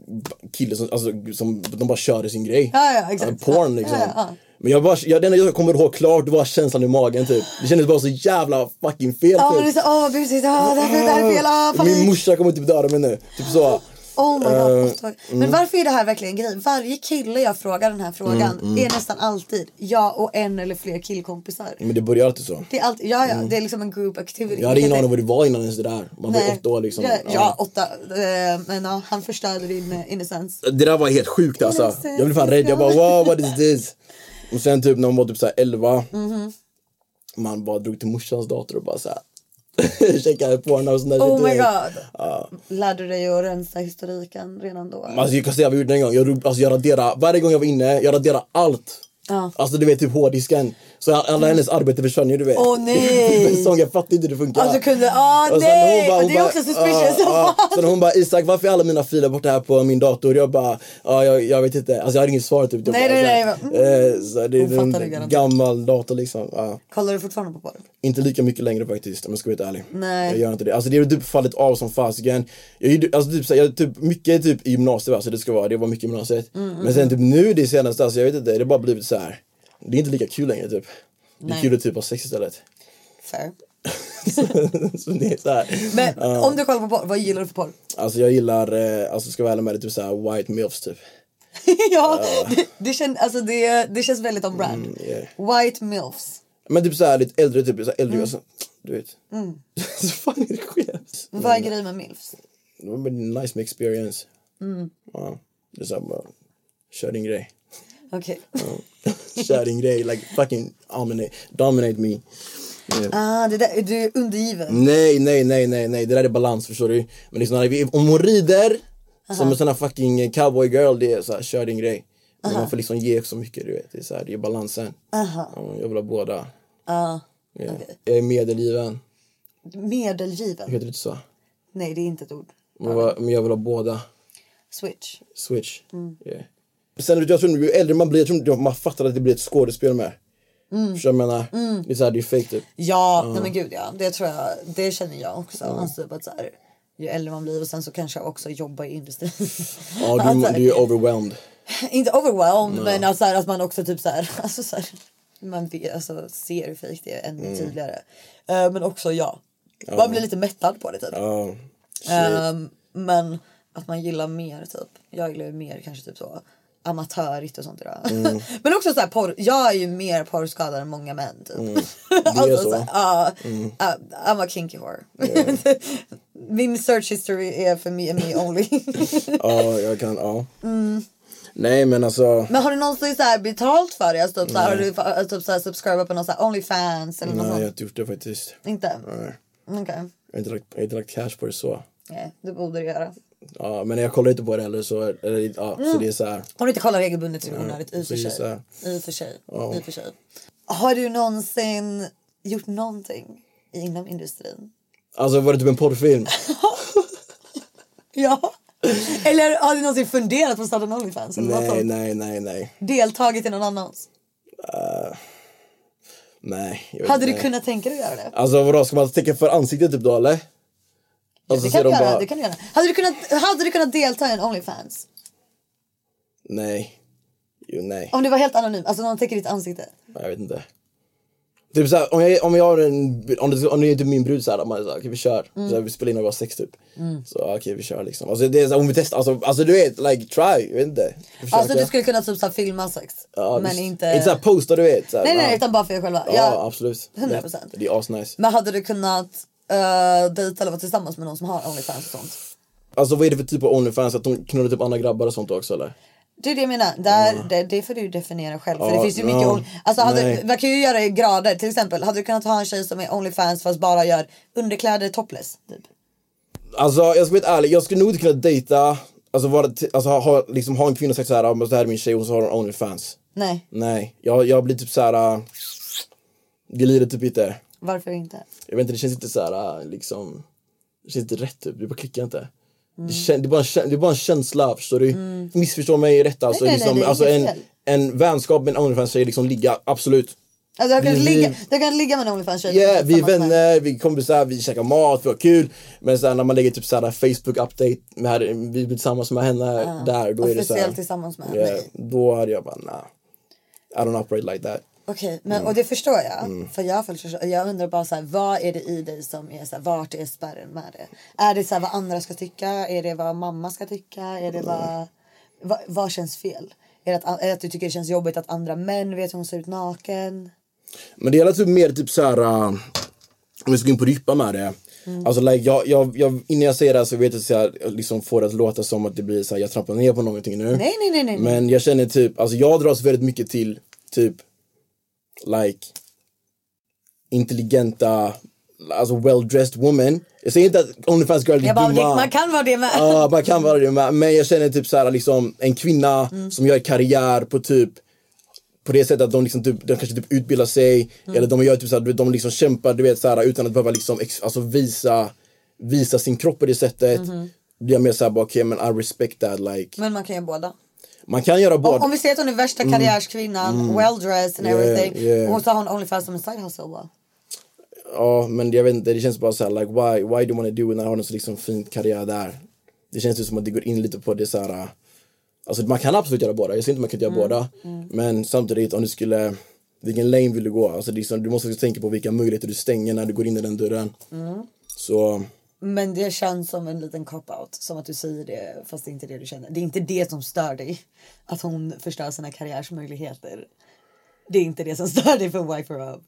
kille som, alltså, som de bara körde sin grej. Ja, ja, exakt. Alltså, porn Ja, liksom. ja, ja. Men jag bara, jag, det enda jag kommer ihåg klart var känslan i magen typ. Det kändes bara så jävla fucking fel Ja, men det är typ. så, åh vad busigt, åh, det här det här är fel, åh Min panik. morsa kommer typ döda mig nu. Typ så. Oh my Eh, god. åtta år. Men varför är det här verkligen en grej? Varje kille jag frågar den Mm, här frågan är nästan alltid jag och en eller fler killkompisar. Men det började alltid så. Det är alltid, ja, ja, det är liksom en group activity. Mm. Jag hade ingen Det- aning vad det var innan ens det där. Man var ju Nej. åtta år liksom. Ja, ja åtta. Eh, men ja, han förstörde din eh, innocence. Det där var helt sjukt alltså. Jag blev fan rädd. Jag bara wow what is this? Och sen typ när man var typ såhär 11. Mhm. Man bara drog till morsans dator och bara såhär. Checkade porn och sån där Typ. Oh shit, du my vet. god. Lärde du dig att rensa historiken redan då? Alltså jag kan säga vad jag gjorde en gång. Jag, drog- alltså, jag raderade, varje gång jag var inne, jag raderade allt. Alltså du vet typ hårddisken. Så alla hennes arbete försvann ju du vet. Åh nej! Sång, jag fattar inte hur det funkar. Ja, du kunde, ah Och sen när nej! det är också suspicious som ah, ah. fan. Sen hon bara, Isak varför är alla mina filer borta här på min dator? Jag bara, ja jag, jag vet inte. Alltså jag hade inget svar typ. Jag Nej, bara, nej, nej, så här, eh, så här, det Hon är fattade en garanterat. gammal dator liksom. Ja. Kollar du fortfarande på porr? Inte lika mycket längre faktiskt om jag ska vara helt ärlig. Nej. Jag gör inte det. Alltså det är typ fallit av som fasiken. Jag, gjorde- alltså typ, så här, jag, typ, mycket typ i gymnasiet alltså det ska vara, det var mycket i gymnasiet. Mm, Men sen typ nu det senaste, alltså jag vet inte, det har bara blivit så här. Det är inte lika kul längre typ. Det är Nej. kul att typ ha sex istället. Fair. så det är så här. Men om du kollar på porr, vad gillar du för porr? Alltså jag gillar, eh, alltså ska jag vara ärlig med det, typ så här white milfs typ. ja, Mm. det, det, kän, alltså det, det känns väldigt on brand. White milfs. Men typ så här lite äldre typ, så här äldre alltså, du vet. så fan är det skevt? Vad är grejen med milfs? Det var en nice med experience. Ja, det är så här bara, kör din grej. Okej. kör din grej, like fucking dominate, dominate me. Ah, det där, du är undergiven. Nej, nej, nej, nej, nej, det där är balans förstår du. Men liksom, när vi- om hon rider som en sån här fucking cowboy girl, det är så här, kör din grej. Men man får liksom ge så mycket du vet, det är, så här, det är balansen. Ja, jag vill ha båda. Ja. Jag är medelgiven, Medelgiven. Mm. heter det inte så? Nej, det är inte ett ord. Men, vad- men jag vill ha båda. Switch. Switch. Mm. Yeah. Sen vet du, jag tror ju äldre man blir, jag tror man fattar att det blir ett skådespel med. Mm. Förstår du vad jag menar? Det är såhär, det är fake typ. Ja, nej men gud ja. Det tror jag, det känner jag också. Alltså, typ att så här, ju äldre man blir och sen så kanske jag också jobbar i industrin. Ja, du, Alltså, du är overwhelmed. Inte overwhelmed men alltså, så här, att man också typ så här, alltså, så här man vet, alltså, ser hur fejk det är ännu Mm. tydligare. Eh, men också ja, man blir lite mättad på det typ. Ja. Ehm, men att man gillar mer typ, jag gillar ju mer kanske typ så amatörigt och sånt idag. Mm. men också så här, porr, jag är ju mer porrskadad än många män typ. Mm. Det är Så så. här, Ja, ja, I'm a kinky whore. Min search history är för me and me only. Ja, jag kan, ja. Nej men alltså. Men har du någonsin så här betalt för det? Alltså typ så här, har du fa- typ så här subscribat på någon så här Onlyfans eller något Nej, jag har sånt? inte gjort det faktiskt. Inte? Nej. Okej. Jag har inte lagt, jag har inte lagt cash på det så. Nej, det borde du göra. Ja, men jag kollar inte på det heller så, eller, ja, så det är så här. Om du inte kollar regelbundet så är det onödigt i och för precis sig. så I och för sig. I och för sig. Har du någonsin gjort någonting inom industrin? Alltså var det typ en porrfilm? Ja. Eller har du någonsin funderat på att starta en Onlyfans? Eller något nej, sånt? nej, nej, nej. Deltagit i någon annans? Nej. jag vet Hade inte. du kunnat tänka dig att göra det? Alltså vadå, ska man täcka för ansiktet typ då eller? Alltså, det, ser kan de du göra, bara- det kan du göra. Hade du kunnat, hade du kunnat delta i en Onlyfans? Nej. Jo, nej. Om du var helt anonym, alltså någon täcker ditt ansikte. Jag vet inte. Typ såhär, om jag, om jag har en, om det, om det är typ min brud såhär, man är såhär, okej vi kör. Mm. Så vi spelar in när vi har sex typ. Så okej vi kör liksom. Alltså det är såhär, om vi testar, alltså, alltså du vet, like try, jag vet inte. Försöka. Alltså du skulle kunna typ så här filma sex. Ja, men visst. inte... Inte såhär posta du vet. Såhär, nej, nej, ja. nej, utan bara för er själva. Ja, Ja. absolut. 100%. Det, det är asnice. Men hade du kunnat uh, dejta eller vara tillsammans med någon som har Onlyfans och sånt? Alltså vad är det för typ av Onlyfans? Att de knullar typ andra grabbar och sånt också eller? Det är det jag menar. Där, det, det får du definiera själv. För Ja, det finns ju mycket... ja. on- Alltså, hade, Nej. man kan ju göra i grader. Till exempel, hade du kunnat ha en tjej som är Onlyfans fast bara gör underkläder topless? Typ. Alltså jag ska vara helt ärlig, jag skulle nog inte kunna dejta, alltså, vara, t- alltså ha, ha, liksom, ha en kvinna och sagt såhär, ah, men det här är min tjej och så har hon Onlyfans. Nej, Nej, jag, jag blir typ såhär, uh, det lider typ inte. varför inte? Jag vet inte, det känns inte såhär uh, liksom, det känns inte rätt typ, det bara klickar inte. Mm. Det, kän, det, är bara en, kä- det är bara en känsla, förstår du? Missförstå mig rätt alltså. Nej, nej, nej, liksom, det är alltså inget en, fel. en vänskap med en Onlyfans-tjej, liksom ligga, absolut. Alltså, jag, kan Vi- inte ligga, vi- jag kan inte ligga med en Onlyfans-tjej. Yeah, vi är tillsammans med- vänner, vi är kompisar, vi käkar mat, vi har kul. Men sen när man lägger typ såhär Facebook-update, med, vi blir tillsammans med henne där, då är det såhär. Officiellt tillsammans med Yeah, mig. då hade jag bara nah, I don't operate like that. Okej, men, Mm. och det förstår jag. För jag, förstår, jag undrar bara så här, vad är det i dig som är så här, vart är spärren med det? Är det så här, vad andra ska tycka? Är det vad mamma ska tycka? Är det Mm. vad, vad, vad känns fel? Är det, att, är det att du tycker det känns jobbigt att andra män vet hur hon ser ut naken? Men det gäller typ mer typ såhär, uh, om vi ska gå in på djupa med det. Mm. Alltså like, jag, jag, jag, innan jag säger det här så vet jag att jag liksom får det att låta som att det blir såhär, jag trampar ner på någonting nu. Nej, nej, nej, nej. nej. Men jag känner typ, alltså jag dras väldigt mycket till typ like intelligenta, alltså well dressed woman. Jag säger inte att Onlyfans girl är jag bara, det, dumma. man kan vara det med. Ja, man kan vara det med. Men jag känner typ så här, liksom, en kvinna Mm. som gör karriär på typ på det sättet att de, liksom typ, de kanske typ utbildar sig Mm. eller de gör typ så här, du vet, de liksom kämpar du vet, så här, utan att behöva liksom, ex, alltså visa, visa sin kropp på det sättet. Det är mer såhär, okej men I respect that like. Mm-hmm. Men man kan göra båda. Man kan göra båda. Mm. Om, om vi säger att hon är värsta karriärskvinnan, well dressed and Yeah, everything. yeah. Och så har hon Onlyfans som en side hustle bara. Ja, men jag vet inte, det känns bara såhär like why, why do you wanna do it när du har en så liksom fin karriär där? Det känns ju som att det går in lite på det såhär, alltså man kan absolut göra båda, jag säger inte man kan inte Mm, göra båda. Men samtidigt om du skulle, vilken lane vill du gå? Alltså liksom, du måste också tänka på vilka möjligheter du stänger när du går in i den dörren. Mm. Så, Men det känns som en liten cop-out. Som att du säger det fast det är inte det du känner. Det är inte det som stör dig. Att hon förstör sina karriärsmöjligheter. Det är inte det som stör dig för Wife Her Up.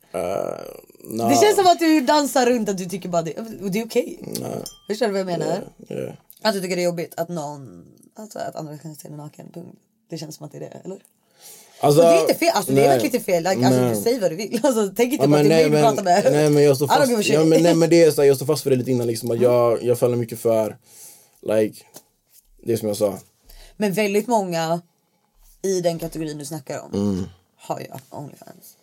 nah, Det känns som att du dansar runt att du tycker bara det, och det är okej. Förstår du vad jag menar? yeah. Att du tycker det är jobbigt att någon, alltså att andra kan se dig naken. Punkt. Det känns som att det är det, eller? Alltså, det är inte fel, alltså det är nej. verkligen inte fel. Like, alltså, Nej. du säger vad du vill. Alltså, tänk inte Ja, på att men, det är mig du nej, men, pratar med. nej men jag står I don't fast, give a shit. Mm. ja, men, nej, men det är så här, jag står fast för det lite innan liksom, att jag, jag faller mycket för like, det som jag sa. Men väldigt många i den kategorin du snackar om Mm. har ju Onlyfans.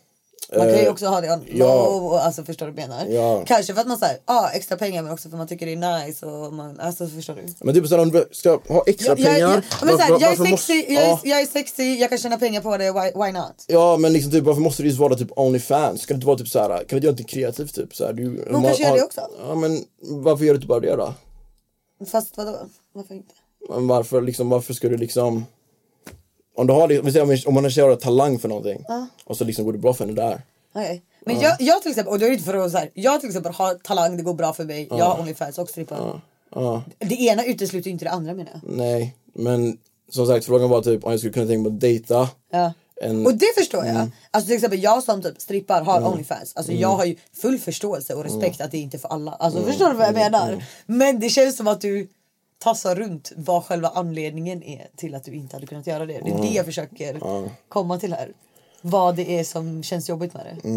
Man kan ju också ha det on Eh, ja. low, alltså förstår du vad jag menar? Ja. Kanske för att man säger ah, extra pengar men också för att man tycker det är nice och man, alltså förstår du? Men typ såhär om du ska ha extra Jag, jag, pengar. jag, men så här, varför- jag, är 60, varför måste- jag, är, ja, jag är 60, jag kan tjäna pengar på det, why, why not? ja men liksom typ varför måste det just vara typ Onlyfans? Kan det inte vara typ såhär, kan du inte göra något kreativt typ? Såhär, du, man- kanske gör har- det också. Ja men varför gör du inte bara det då? Fast vadå? Varför inte? Men varför liksom, varför ska du liksom om, du har, liksom- vi säger om- om man har har talang för någonting och så liksom går det bra för henne där. Okej. Men jag, jag till exempel, och då är det inte för att så här, jag till exempel har talang, det går bra för mig, jag har Onlyfans och strippar. Det ena utesluter ju inte det andra menar jag. Nej, men som sagt frågan var typ om jag skulle kunna tänka mig att dejta. Ja. En, Och det förstår jag. Mm. Alltså till exempel jag som typ strippar har Onlyfans. Alltså jag har ju full förståelse och respekt Mm. att det inte är för alla. Alltså förstår du vad jag menar? Men det känns som att du tassar runt vad själva anledningen är till att du inte hade kunnat göra det. Det är det Mm. jag försöker komma till här. Vad det är som känns jobbigt med det.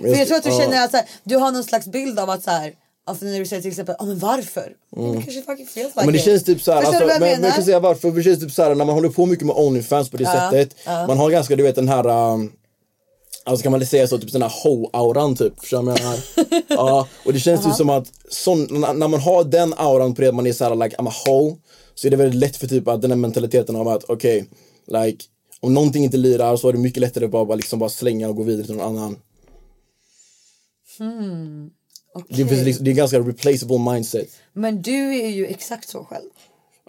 men För jag tror att du Mm. ja. känner att så här, du har någon slags bild av att så här, alltså när du säger till exempel, ja men varför? Men det kanske fucking feels like Mm. men det it. känns typ såhär, Förstår alltså, du vad men, jag men menar? jag kan säga varför, det känns typ såhär när man håller på mycket med Onlyfans på det sättet, man har ganska du vet den här um, Alltså kan man väl säga så, typ den här ho-auran typ, förstår du vad jag menar? ja, och det känns ju som att sån, na- när man har den auran på det, att man är såhär like I'm a ho, så är det väldigt lätt för typ att den här mentaliteten av att okej, like om någonting inte lirar så är det mycket lättare att bara, bara, liksom, bara slänga och gå vidare till någon annan. Det, finns, liksom- det är en ganska replaceable mindset. Men du är ju exakt så själv.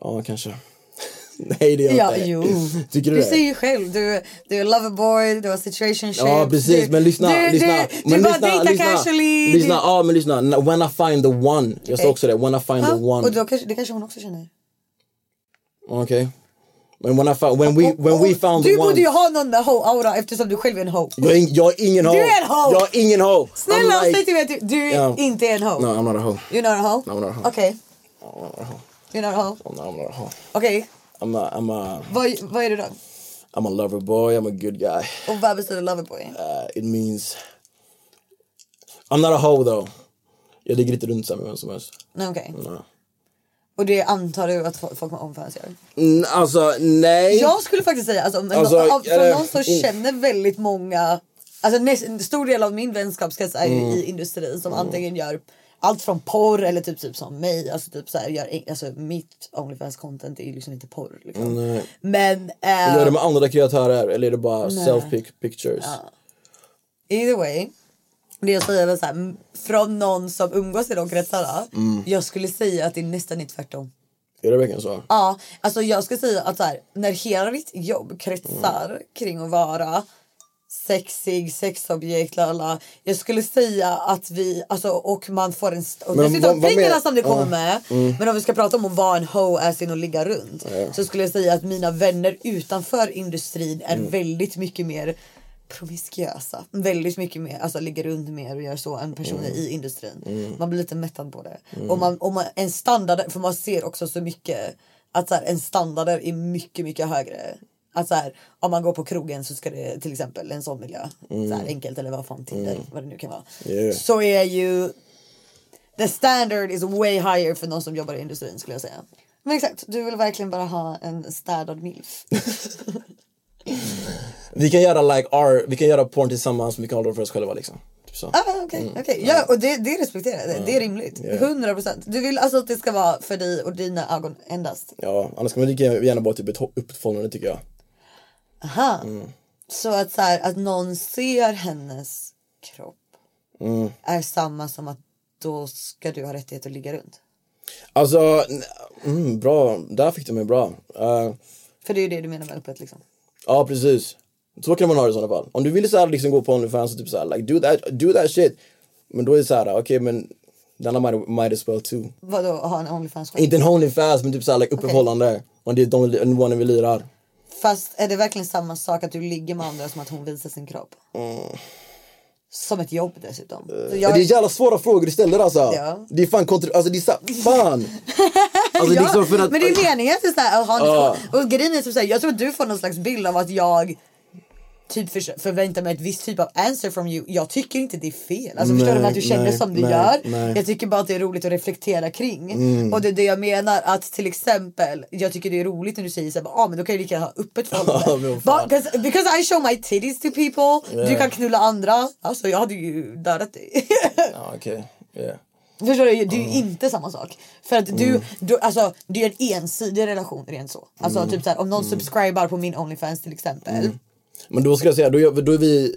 Ja, kanske. Nej, det är jag Ja, inte. jo. Tycker du, Du det? säger ju själv, du, du är loverboy, du har situationship. Ja precis, du, men lyssna, du, lyssna. Du, men du bara lyssna, dejtar lyssna, casually. Lyssna, ja men lyssna. N- When I find the one. Jag sa Okej. också det, when I find Eh. Ja, the one. Och då kanske, det kanske hon också känner. Okej. Men when I found, when we, when we found du the one. borde ju ha någon med ho-aura eftersom du själv är en ho. Jag är, ing- jag är ingen ho. Du är en ho. Jag är ingen ho. Snälla I'm säg till mig att du, du Ja. inte är en ho. No, I'm not a ho. You're not a ho? No, I'm not a ho. Okej, I'm not a ho. you're not a ho. I'm not a ho. Okej, I'm a, I'm a, Vad, vad är du då? I'm a lover boy, I'm a good guy. Och vad betyder loverboy? Uh, it means... I'm not a hoe though. Jag ligger inte runt så här med vem som helst. Nej okej. Och det antar du att fo- folk omfamnar? Mm, alltså nej. Jag skulle faktiskt säga, alltså, om, Alltså, av, från eller- någon som mm. känner väldigt många, alltså näst, en stor del av min vänskapskrets är ju Mm. i industrin som antingen gör allt från porr eller typ, typ som mig. Alltså, typ så här, gör, ing- alltså, mitt Onlyfans content är ju liksom inte porr. Liksom. Mm, Men eh, Gör det med andra kreatörer eller är det bara self-pic pictures? either way. Det jag säger är väl så här, m- från någon som umgås i de kretsarna. Mm. Jag skulle säga att det är nästan är tvärtom. Är det verkligen så? Ja, alltså jag ska säga att så här, när hela ditt jobb kretsar kring att vara sexig, sexobjekt, lala. Jag skulle säga att vi, alltså och man får en... st- Och Men dessutom vad- vad pengarna mer- som det kommer ja. med. Men om vi ska prata om att vara en hoe är sin och ligga runt. Så skulle jag säga att mina vänner utanför industrin är väldigt mycket mer promiskuösa. Väldigt mycket mer, alltså ligger runt mer och gör så än personer i industrin. Man blir lite mättad på det. Och man, och man, en standard, för man ser också så mycket att så här, en standard är mycket, mycket högre. Att så här, om man går på krogen så ska det till exempel en sån miljö, så här, enkelt eller vad fan Tinder, vad det nu kan vara. Yeah. Så är ju The standard is way higher för någon som jobbar i industrin skulle jag säga. Men exakt, du vill verkligen bara ha en städad milf. Vi kan göra like art, vi kan göra porn tillsammans men vi kan hålla det för oss själva liksom. Typ så. ah, okej, okej. Ja, och det, det respekterar jag. Det- Det är rimligt. 100%. Du vill alltså att det ska vara för dig och dina ögon endast. Ja, annars kan man lika gärna bara typ ett ho- öppet förhållande tycker jag. Aha. Så att så här, att någon ser hennes kropp är samma som att då ska du ha rättighet att ligga runt. Alltså, n- mm, bra. Där fick du mig bra. Eh, För det är ju det du menar med öppet liksom. Ja, precis. Så kan man ha det i sådana fall. Om du vill så här, liksom gå på Onlyfans och typ så här, like, do, that, do that shit. Men då är det så här, okej men then I might, might as well too. Vadå ha en Onlyfans själv? Inte en Onlyfans men typ så här, like, uppehållande. Om det är de nivåerna vi lirar. Fast är det verkligen samma sak att du ligger med andra som att hon visar sin kropp? Som ett jobb dessutom. Så jag, Det Mm. Eh, är jävla svåra frågor du ställer alltså. Ja. Det är fan kontra... Alltså det är så här, fan! Alltså, ja, liksom för att- Men det är meningen att det är så här, att ha en Ja. diskussion. Och grejen är typ så här, jag tror att du får någon slags bild av att jag typ förs- förväntar mig ett visst typ av answer from you. Jag tycker inte det är fel. Alltså förstår du Nej, att du känner nej, som du nej, gör. nej. Mm. Jag tycker bara att det är roligt att reflektera kring. Och det är det jag menar att till exempel, jag tycker det är roligt när du säger såhär, ah, men då kan jag lika gärna ha öppet Ja, men förhållande. vad fan. because, because I show my titties to people, du kan knulla andra. Alltså jag hade ju dödat dig. Ja, okej. Yeah. Förstår du? Det är ju inte samma sak. För att Mm. du, du alltså det är en ensidig relation rent så. Alltså Mm. typ såhär om någon subscribar på min Onlyfans till exempel. Men då ska jag säga, då, gör vi- då är vi...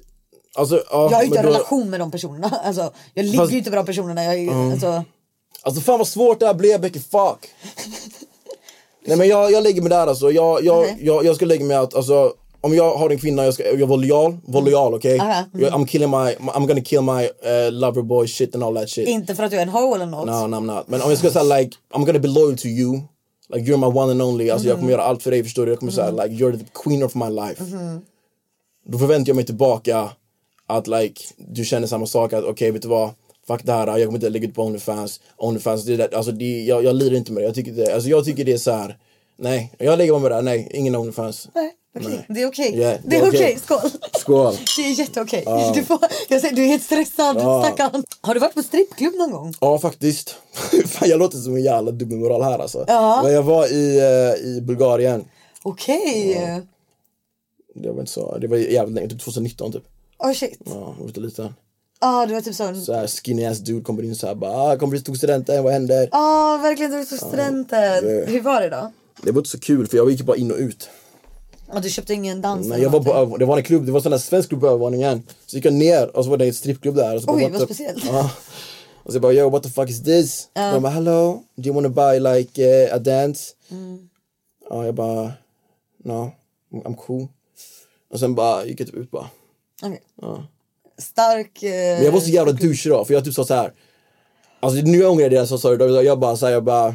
Alltså, ja, Jag har ju inte men en då, relation med de personerna. Alltså jag ligger Fast- Mm. ju inte med de personerna. Jag är ju, alltså, Alltså fan vad svårt det här blev Becky, fuck! Nej men jag, jag lägger mig där alltså, jag, jag, Okej. jag, jag ska lägga mig att alltså om jag har en kvinna, jag ska jag vara lojal, var lojal okej? Aha, Jag- I'm killing my, I'm gonna kill my uh, lover boy shit and all that shit. inte för att du är en hoe eller något. No, no I'm not. Men om jag ska säga like, I'm gonna be loyal to you. Like you're my one and only. Alltså jag kommer göra allt för dig förstår du. Jag kommer säga like you're the queen of my life. Då förväntar jag mig tillbaka att like du känner samma sak. Att okej vet du vad. Fuck det här, jag kommer inte lägga ut på Onlyfans. Onlyfans, det där, alltså det, jag, jag lirar inte med det. Jag tycker det, alltså jag tycker det är så här. Nej, jag lägger mig med det här. Nej, ingen Onlyfans. Nej, okej. Det är okej. Yeah, det är okej, skål. Skål. Det är jätteokej. Du, får, jag säger, du är helt stressad, stackarn. Har du varit på strippklubb någon gång? Ja faktiskt. Fan jag låter som en jävla dubbelmoral här alltså. Men jag var i, eh, i Bulgarien. Okej. Det var inte så, det var jävligt länge, typ 2019 typ. Oh shit. Ja, Ja, jag var ute lite. du var typ sån. Så här skinny ass dude kommer in såhär bara, ah, kommer du tog studenten, vad händer? Ja, Ah, verkligen. Du var så studenten. Hur var det då? Det var inte så kul för jag gick bara in och ut. Och du köpte ingen dans? Nej, eller jag var på, någonting? över- det var en klubb, det var en sån där svensk klubb på övervåningen. Så gick jag ner och så var det en strippklubb där. Och så bara, Oj, what vad the- speciellt. Ja. Och så jag bara, yo what the fuck is this? De bara, hello, do you wanna buy like eh, a dance? Mm. Ja, jag bara, no, I'm cool. Och sen bara gick jag typ ut bara. Okej. Stark... Eh... Men jag var så jävla douche då, för jag typ sa så här. Alltså nu ångrar jag det jag sa sorry, då. jag bara såhär, jag bara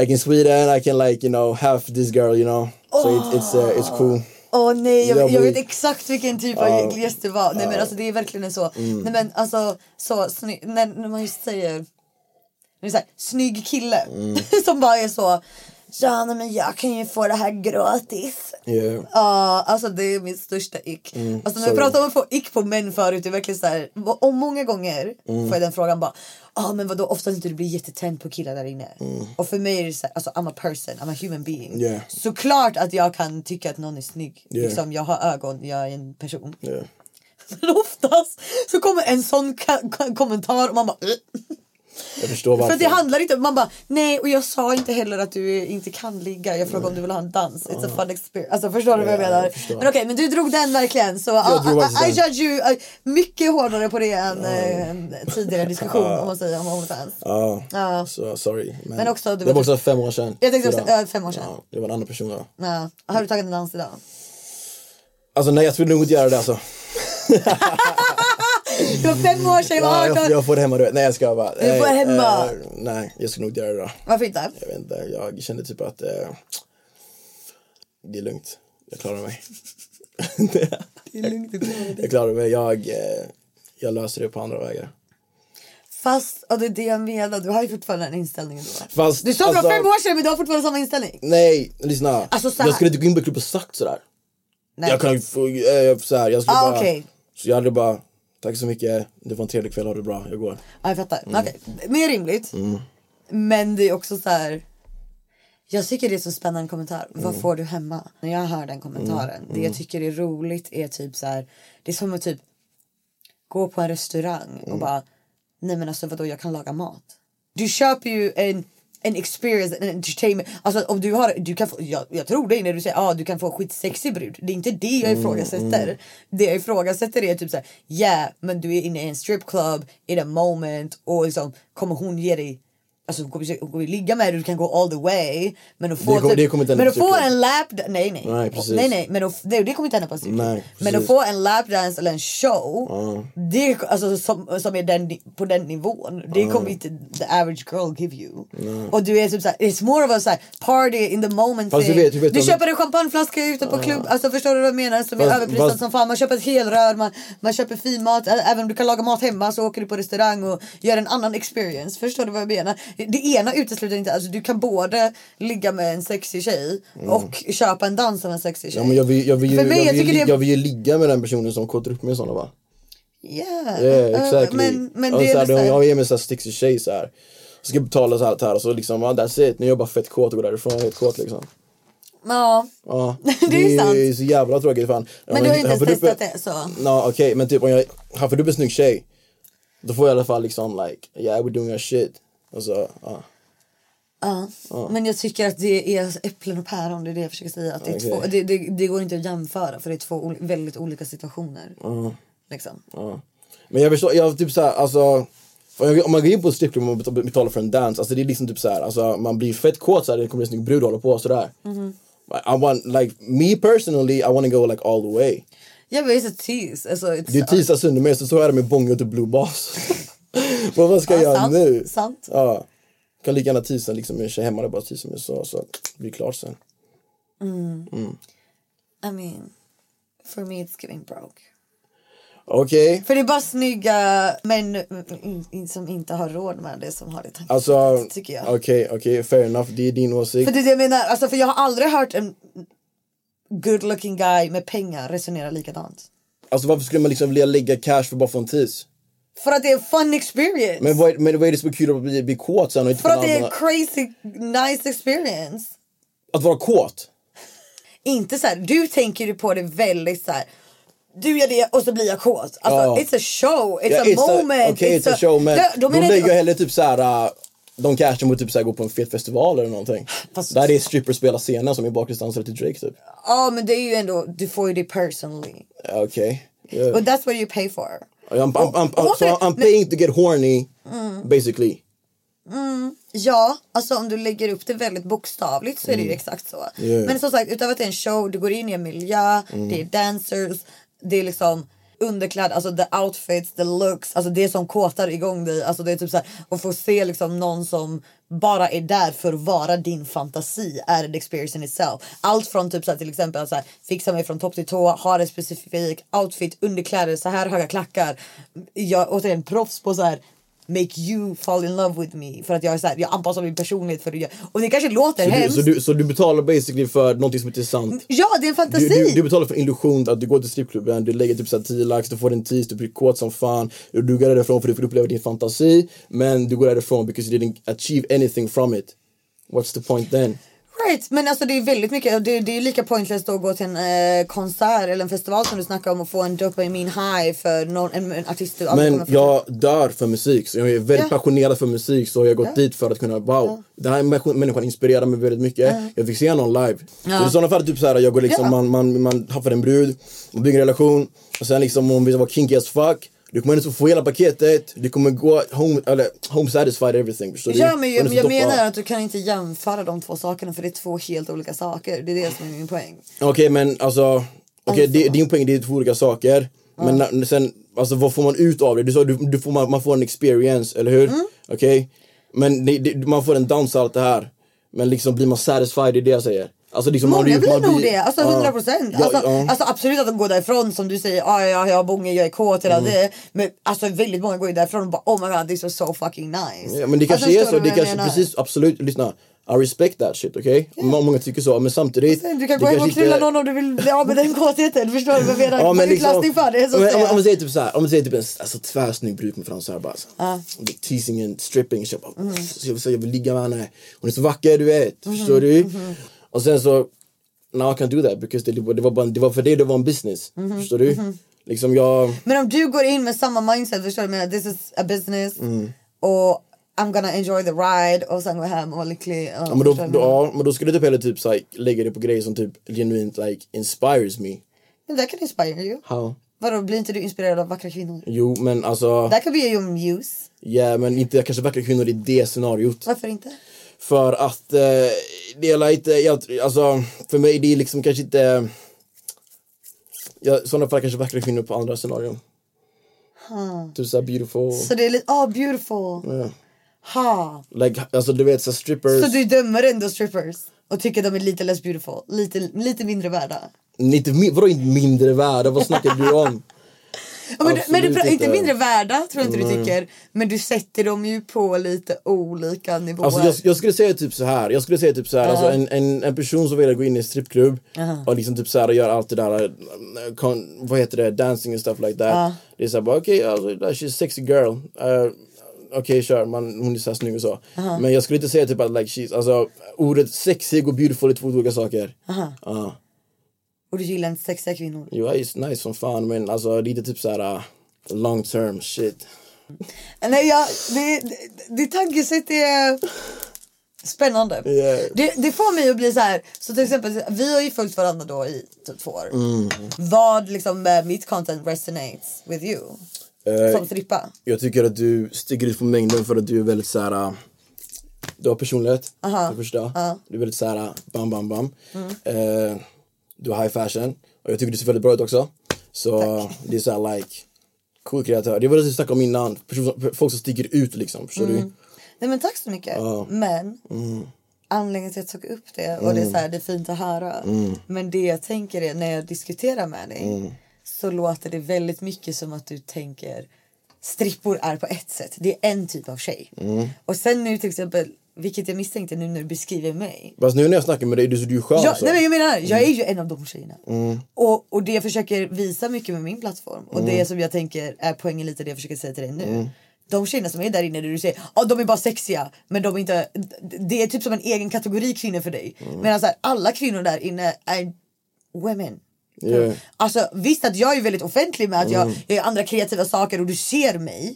Like in Sweden I can like you know have this girl you know So it, it's, uh, it's cool Åh nej, jag, Jag jag blir- vet exakt vilken typ av gäst det var. Nej men alltså det är verkligen en så. Mm. Nej men alltså så snygg, Mm. när, när man just säger, när det är så här, snygg kille som bara är så. ja nej, men jag kan ju få det här gratis. Yeah. Ja, alltså det är mitt största ick. alltså när vi Mm, sorry. pratar om att få ick på män förut, det är verkligen så här, och många gånger Mm. får jag den frågan bara, ja ah, men vadå oftast inte du blir jättetänd på killar där inne. Och för mig är det så här, alltså I'm a person, I'm a human being. Mm. Yeah. Såklart att jag kan tycka att någon är snygg, Yeah. liksom jag har ögon, jag är en person. Yeah. Men oftast så kommer en sån ka- ka- kommentar och man bara "Eh." Jag förstår varför. För det handlar inte man bara nej och jag sa inte heller att du inte kan ligga. Jag frågade om du vill ha en dans. It's a fun experience. Alltså förstår du vad jag Ah. Ja, jag menar? förstår. men okej, men du drog den verkligen så ah, drog faktiskt I, I, I den. Ah. judge you ah, mycket hårdare på det än eh, en tidigare diskussion om man säger om Onlyfans. Ja, Ja. så sorry. Men, Men också, du det vet- var också fem år sedan. Jag tänkte också- Fyra. ja, fem år sedan. Ja, det var en annan person då. Ja. Har du tagit en dans idag? Alltså nej, jag skulle nog inte göra det alltså. Du var fem år sedan, jag Ja, var Ah, jag, 18. jag får det hemma du vet. Nej jag ska bara. Du får hemma. nej, jag skulle nog inte göra det då. Varför inte? Jag vet inte, jag kände typ att eh, det är lugnt. Jag klarar mig. Det är lugnt, det går. Jag klarar mig. Jag, eh, jag löser det på andra vägar. Fast, och det är det jag menar, du har ju fortfarande den inställningen då. Fast, Du sa det alltså- var fem år sedan men du har fortfarande samma inställning. Nej, lyssna. Alltså, så här. jag skulle inte gå in på en klubb och sagt sådär. Nej. Jag kan ju få, eh, så här, jag skulle Ah, bara. okej. Så jag hade bara, tack så mycket, det var en trevlig kväll, ha det bra, jag går. Ja, jag fattar. Okej, Mer rimligt. Men det är också så här. Jag tycker det är så spännande kommentar. Vad får du hemma? När jag hör den kommentaren. Det jag tycker är roligt är typ så här. Det är som att typ gå på en restaurang Mm. och bara. Nej men alltså vadå jag kan laga mat. Du köper ju en en experience, en entertainment. Alltså om du har, du kan få, jag, jag tror dig när du säger ah, du kan få skitsexig brud. Det är inte det jag Mm, ifrågasätter. Det jag ifrågasätter är typ såhär, yeah men du är inne i en stripclub, in a moment och liksom kommer hon ge dig Alltså går vi, går vi ligga med dig, du kan gå all the way. Men att få, typ Det kommer- det kommer inte hända men på att få stripclub. en lap... Nej nej. Nej, precis. nej, nej. Men att, det, det kommer inte hända på en stripclub. Nej, Men att precis. få en lapdance eller en show. Det alltså, som, som är den, ni- på den nivån. Det kommer inte the average girl give you. Och du är typ såhär, it's more of a såhär, party in the moment Fast du thing. vet- du vet om- köper en champagneflaska ute på klubb. Alltså förstår du vad jag menar? Som är Fast- överprisad fast- som fan. Man köper ett helrör, man, man köper fin mat. Ä- Även om du kan laga mat hemma så åker du på restaurang och gör en annan experience. Förstår du vad jag menar? Det ena utesluter inte, alltså du kan både ligga med en sexig tjej Mm. och köpa en dans av en sexig tjej. Ja, men jag, vill, jag, vill ju, För jag, mig, vill, jag ju tycker li- det är- jag vill ju ligga med den personen som kåtar upp mig och sådana va? Yeah. Yeah, Eh, exactly. Men, men Och det så är väl här, så de- här- Jag ger mig såhär sticks i tjej såhär. Så ska jag betala så här, så här och så liksom, ah, that's it. Nu är jag bara fett kåt och går därifrån fett kåt liksom. ja. Ja. Det är ju sant. ju så jävla tråkigt fan. Men du har inte ens testat det. det så. Ja okej men typ om jag haffar upp en snygg tjej. Då får jag i alla fall liksom like, yeah we're doing our shit. Och så, ja. Men jag tycker att det är äpplen och päron, det är det jag försöker säga. Att det, är Okej. två, det, det, det går inte att jämföra för det är två ol- väldigt olika situationer. Liksom. Men jag förstår, jag typ såhär alltså. Om, jag, om man går in på en strippklubb och bet- betalar för en dans, alltså det är liksom typ såhär, alltså man blir fett kåt såhär, det kommer en snygg brud och håller på och sådär. Mm-hmm. I I want, like me personally, I wanna go like all the way. Jag vill ju tease. Alltså, it's, Det är tisdag sönder mig, så så är det med bongo och blue bas. Vad vad ska jag Ja, göra sant, nu? sant. Ja. Kan lika gärna tisa liksom med en tjej hemma, det är bara tisa med så, så blir klart sen. I mean, for me it's giving broke. Okej, För det är bara snygga män mm, mm, mm, som inte har råd med det som har det tankesättet, alltså tycker jag. okej, okej, fair enough, det är din åsikt. För det är det jag menar, alltså, för jag har aldrig hört en good looking guy med pengar resonera likadant. Alltså varför skulle man liksom vilja lägga cash för bara få en tis? För att det är en fun experience. Men vad, är- men vad är det som är kul att bli, bli kåt sen och inte för kunna att det är en använda... crazy nice experience. Att vara kåt? Inte så här, du tänker ju på det väldigt så här. Du gör det och så blir jag kåt. Alltså Ja. it's a show, it's Ja, a moment. Okej, it's, a show men Då- då de menar jag- lägger ju hellre typ såhär, äh, de cashen mot typ såhär gå på en fet festival eller någonting. Fast- Där det är strippers spelar scenen som är bakgrundsdansare till Drake typ. Ja men det är ju ändå, du får ju det personally. Okej. Yeah. But that's what you pay for. I'm, I'm, I'm, I'm, so återigen, I'm men- paying to get horny, Mm. basically. Ja, alltså om du lägger upp det väldigt bokstavligt så är det ju exakt så. Yeah. Men som sagt, utöver att det är en show, du går in i en miljö, det är dancers, det är liksom underklädd, alltså the outfits, the looks, alltså det som kåtar igång dig. Alltså det är typ så här, och få se liksom någon som bara är där för att vara din fantasi är en experience in itself. Allt från typ så här, till exempel så här, fixa mig från topp till tå, ha en specifik outfit, underkläder, så här höga klackar. Jag återigen proffs på så här make you fall in love with me. För att jag är såhär, jag anpassar min personlighet för det. Och det kanske låter Så du, hemskt. så, du, så du betalar basically för någonting som inte är sant? ja, det är en Du, fantasi. du, du betalar för illusion att du går till strippklubben, du lägger typ så här 10 lax, du får en tis, du blir kåt som fan. Du går därifrån för du får uppleva din fantasi, men du går därifrån because you didn't achieve anything from it. What's the point then? Right, men alltså det är väldigt mycket, och det, det är lika pointless då att gå till en eh, konsert eller en festival som du snackar om och få en dopamine high för någon, en, en artist du aldrig Men kommer få jag dör för musik, så jag är väldigt Ja. passionerad för musik så jag har gått dit för att kunna, wow, den här människ- människan inspirerar mig väldigt mycket, jag fick se någon live. Så i sådana fall typ såhär, jag går liksom, Ja. man, man, man haffar en brud, man bygger en relation, och sen liksom om vi var kinky as fuck, du kommer inte få hela paketet, du kommer gå home, eller, home satisfied everything, förstår du? Ja, men Man jag, är så jag doppad. menar att du kan inte jämföra de två sakerna för det är två helt olika saker. Det är det som är min poäng. Okej men alltså, okay, det, din poäng det är två olika saker. Men na, sen, alltså, vad får man ut av det? Du sa du, du får, man, man får en experience, eller Mm. hur? Okej? Men det, det, man får en downside allt det här. Men liksom blir man satisfied, det är det jag säger. Alltså, liksom, Många man, blir man nog det, alltså ja. 100 procent. Ja, Alltså, ja. alltså absolut att de går därifrån som du säger, ah, ja, jag har bonge, jag är kåt hela Mm. det. Men alltså väldigt många går ju därifrån och bara oh my god this was so fucking nice. Ja, men det kanske alltså, är förstår så, du det vad jag kanske, menar? precis, absolut, lyssna. I respect that shit, okej? Må- Många tycker så, men samtidigt. Alltså, Du det kan gå hem och kanske knulla inte- någon om du vill bli av med den kåtheten. Förstår du vad jag menar? Ja, men liksom, Utlastning för det. Så om, att om, om man säga. säger typ såhär, om man säger typ en alltså, tvärsnygg brud kommer fram såhär bara så, teasingen, stripping, så jag, bara, Mm. så jag, så jag vill ligga med henne, hon är så vacker du vet, Mm-hmm. förstår du? Och sen så, now I can't do that because det, det, var, bara, det var för dig det var en business, Mm-hmm. förstår du? Liksom jag, Men om du går in med samma mindset, förstår du vad jag menar? This is a business. Mm. Och I'm gonna enjoy the ride och sen gå hem och vara lycklig. och ja, men, då, förstår du då, vad jag menar? ja, men då skulle du typ hellre typ, så här, lägga det på grejer som typ genuint like, inspires me. Men that can inspire you. How? Vadå, blir inte du inspirerad av vackra kvinnor? Jo men alltså, That could be your muse. yeah, men inte kanske vackra kvinnor i det scenariot. Varför inte? För att eh, det är inte, jag, alltså för mig det är liksom kanske inte, jag, i sådana fall kanske vackra kvinnor på andra scenarion. Typ såhär beautiful, Så det är lite, oh beautiful. Mm. Ha. like, alltså du vet såhär strippers, Så du dömer ändå strippers? Och tycker de är lite less beautiful, lite, lite mindre värda. inte, mi- vadå inte mindre värda, vad snackar du om? Ja, Men, men du, Absolut inte inte. mindre värda tror jag inte du tycker. Men du sätter dem ju på lite olika nivåer. Alltså jag, jag skulle säga typ så här. jag skulle säga typ så här. alltså en, en, en person som vill gå in i en strippklubb och liksom typ så här och göra allt det där, eh, kon, vad heter det, dancing and stuff like that. Det är såhär bara okej, alltså, she's a sexy girl. Eh, Okej kör, man, hon är såhär snygg och så. Men jag skulle inte säga typ att like she's, alltså ordet sexig och beautiful är två olika saker. Ja. Och du gillar inte sexiga kvinnor. Jo, it's nice som fan men alltså det är inte typ såhär uh, long term shit. Nej, jag, det, det, det tankesätt är spännande. Yeah. Det, det får mig att bli så här. Så till exempel, vi har ju följt varandra då i typ två år. Mm. Vad liksom med mitt content resonates with you? Eh, Som strippa? Jag tycker att du sticker ut på mängden för att du är väldigt såhär äh, Du har personlighet, för det första. Du är väldigt såhär äh, bam bam bam Mm. Eh, Du har high fashion och jag tycker du ser väldigt bra ut också Så det är såhär like Cool kreatör, det var det vi snackade om innan, Person som, folk som sticker ut liksom, förstår Mm. du? Nej men tack så mycket. Men anledningen till att jag tog upp det och det är så här, det är fint att höra. Men det jag tänker är när jag diskuterar med dig så låter det väldigt mycket som att du tänker strippor är på ett sätt. Det är en typ av tjej. Och sen nu till exempel, vilket jag misstänkte nu när du beskriver mig. Fast nu när jag snackar med dig, du, du är ju skön Ja, alltså. nej, men jag menar, jag är ju en av de tjejerna. Och, och det jag försöker visa mycket med min plattform och det som jag tänker är poängen lite det jag försöker säga till dig nu. De tjejerna som är där inne där du säger ja de är bara sexiga men de är inte, det är typ som en egen kategori kvinnor för dig. Medan så här, alla kvinnor där inne är women. Yeah. Alltså visst att jag är väldigt offentlig med att jag, jag gör andra kreativa saker och du ser mig.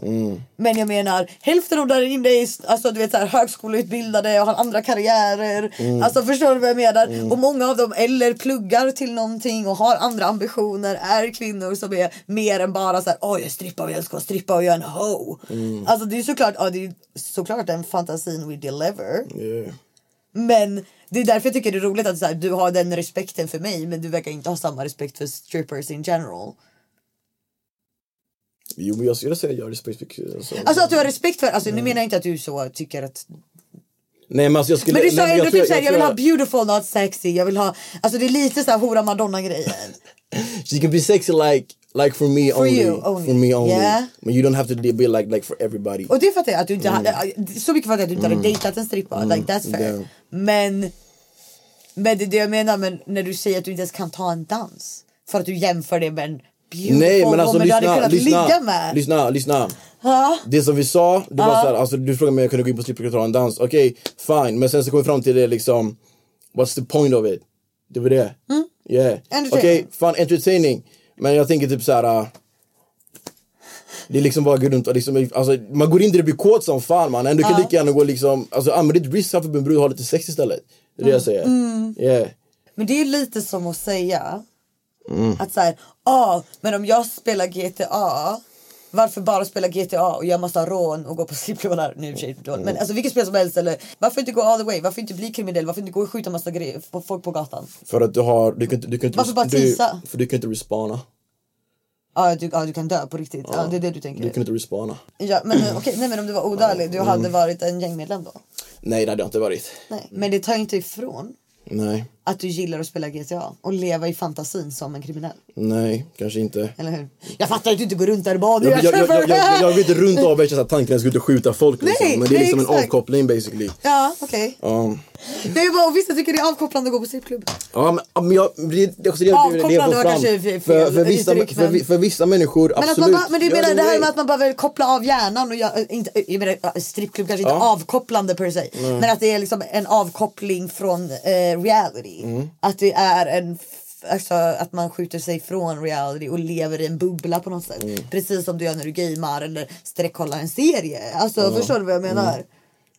Men jag menar hälften av där inne är alltså, du vet, så här, högskoleutbildade och har andra karriärer. Alltså förstår du vad jag menar? Och många av dem eller pluggar till någonting och har andra ambitioner. Är kvinnor som är mer än bara så här, åh jag är strippa och jag ska strippa och jag är en ho. Alltså det är såklart, ja, det är såklart den fantasin we deliver. Yeah. Men det är därför jag tycker det är roligt att så här, du har den respekten för mig men du verkar inte ha samma respekt för strippers in general. Jo men jag skulle säga jag har respekt för alltså. Alltså att du har respekt för, alltså nu menar jag inte att du så tycker att... Nej men alltså jag skulle Men du sa nej, ändå tror- typ såhär, jag vill tror- ha beautiful not sexy, jag vill ha... Alltså det är lite såhär hora madonna grejen. She can be sexy like Like for me For only. you only. For me only. Yeah. Men you don't have to be like, like for everybody. Och det fattar jag att du inte Mm. hade, så mycket fattar jag att du inte hade dejtat en strippa, like that's fair. Yeah. Men, men det är det jag menar men när du säger att du inte ens kan ta en dans. För att du jämför det med en beautiful Nej men alltså woman du hade lyssna, kunnat lyssna, ligga med. lyssna, lyssna. Det som vi sa, det var såhär, alltså, du frågade mig om jag kunde gå in på stripklubb och ta en dans. Okej, fine. Men sen så kom vi fram till det liksom, what's the point of it? Det var det. Yeah. Okej, Mm. Entertaining. fine, entertaining. Men jag tänker typ såhär, äh, det är liksom bara gå runt och liksom, alltså, man går in där det blir kåt som fan man. Du kan lika gärna gå liksom, alltså använd ditt wrist här för att min brud har lite sex istället. Det är Mm. det jag säger. Yeah. Men det är lite som att säga Mm. att så här, ah, men om jag spelar GTA varför bara spela GTA och göra massa rån och gå på strippklubbar nu i och för sig, då. Mm. men alltså vilket spel som helst eller varför inte gå all the way varför inte bli kriminell varför inte gå och skjuta massa grejer på folk på gatan För att du har, du kan inte, du kan inte, Varför bara du, tisa? för du kan inte respawna. Ja du, ja, du kan dö på riktigt. Ja. det är det du tänker. Du kan inte respawna. Ja, men eh, okej, nej, men om du var odödlig, du hade mm. varit en gängmedlem då? Nej det hade jag inte varit. Nej. Men det tar inte ifrån Nej, att du gillar att spela GTA och leva i fantasin som en kriminell. nej, kanske inte. Eller hur? Jag fattar att du inte går runt där och bara... Jag, jag, jag, jag, jag, jag vill inte runt av mig tanken att jag ska ut och skjuta folk liksom. Nej, Men det är nej, liksom en exakt. avkoppling basically. Ja, okej. Um, Nej, bara, och vissa tycker det är avkopplande att gå på strippklubb. ja men, men jag, det, det är också det jag vill Avkopplande få var fram. kanske fel- för, för, vissa, uttryck, för, vi- men- för vissa människor, Men, att absolut. man bara, men det, Ja, menar, det här nej. med att man behöver koppla av hjärnan och jag, inte, jag menar, ja, strippklubb kanske inte avkopplande per se men att det är liksom en avkoppling från eh, reality. Att det är en f- Alltså att man skjuter sig från reality och lever i en bubbla på något sätt. Precis som du gör när du gamear eller streckkollar en serie. Alltså förstår du vad jag menar?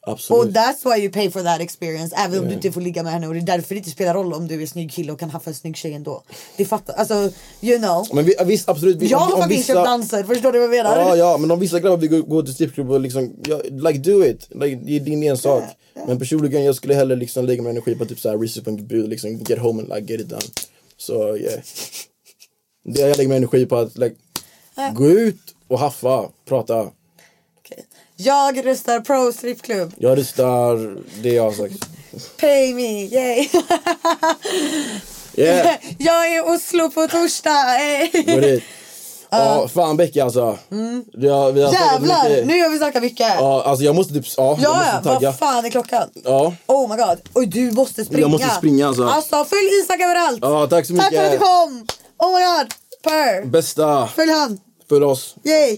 Och Absolut. that's why you pay for that experience även om du inte får ligga med henne och det är därför det inte spelar roll om du är snygg kille och kan haffa en snygg tjej ändå. Det fattar, alltså you know. Men vi, ja, visst, absolut. Vi, Jag om- har om fucking vissa- köpt danser, förstår du vad jag menar? Ja, ja, men om vissa grabbar vill gå, gå till strippklubb och liksom, ja, like do it. Like, det är din ensak. Men personligen, jag skulle hellre liksom lägga min energi på typ såhär research and build, liksom get home and like get it done. Så yeah. Det jag lägger min energi på att like, gå ut och haffa, prata. Okej. Jag röstar pro strippklubb. Jag röstar det jag har sagt. Pay me, yay! Yeah, jag är i Oslo på torsdag! eh. go dit. Ja, fan Becky alltså. Mm. Ja, vi har snackat Jävlar! mycket. Nu har vi snackat mycket. Ja, Ja, alltså jag måste typ, ja, jag ja, måste tagga. vad fan är klockan? Ja. Oh my god. Oj, du måste springa. Jag måste springa, alltså. Alltså, följ Isak överallt. Ja, tack så Tack för att du mycket. kom! Oh my god. Per. Bästa, Följ han. följ oss. Yay!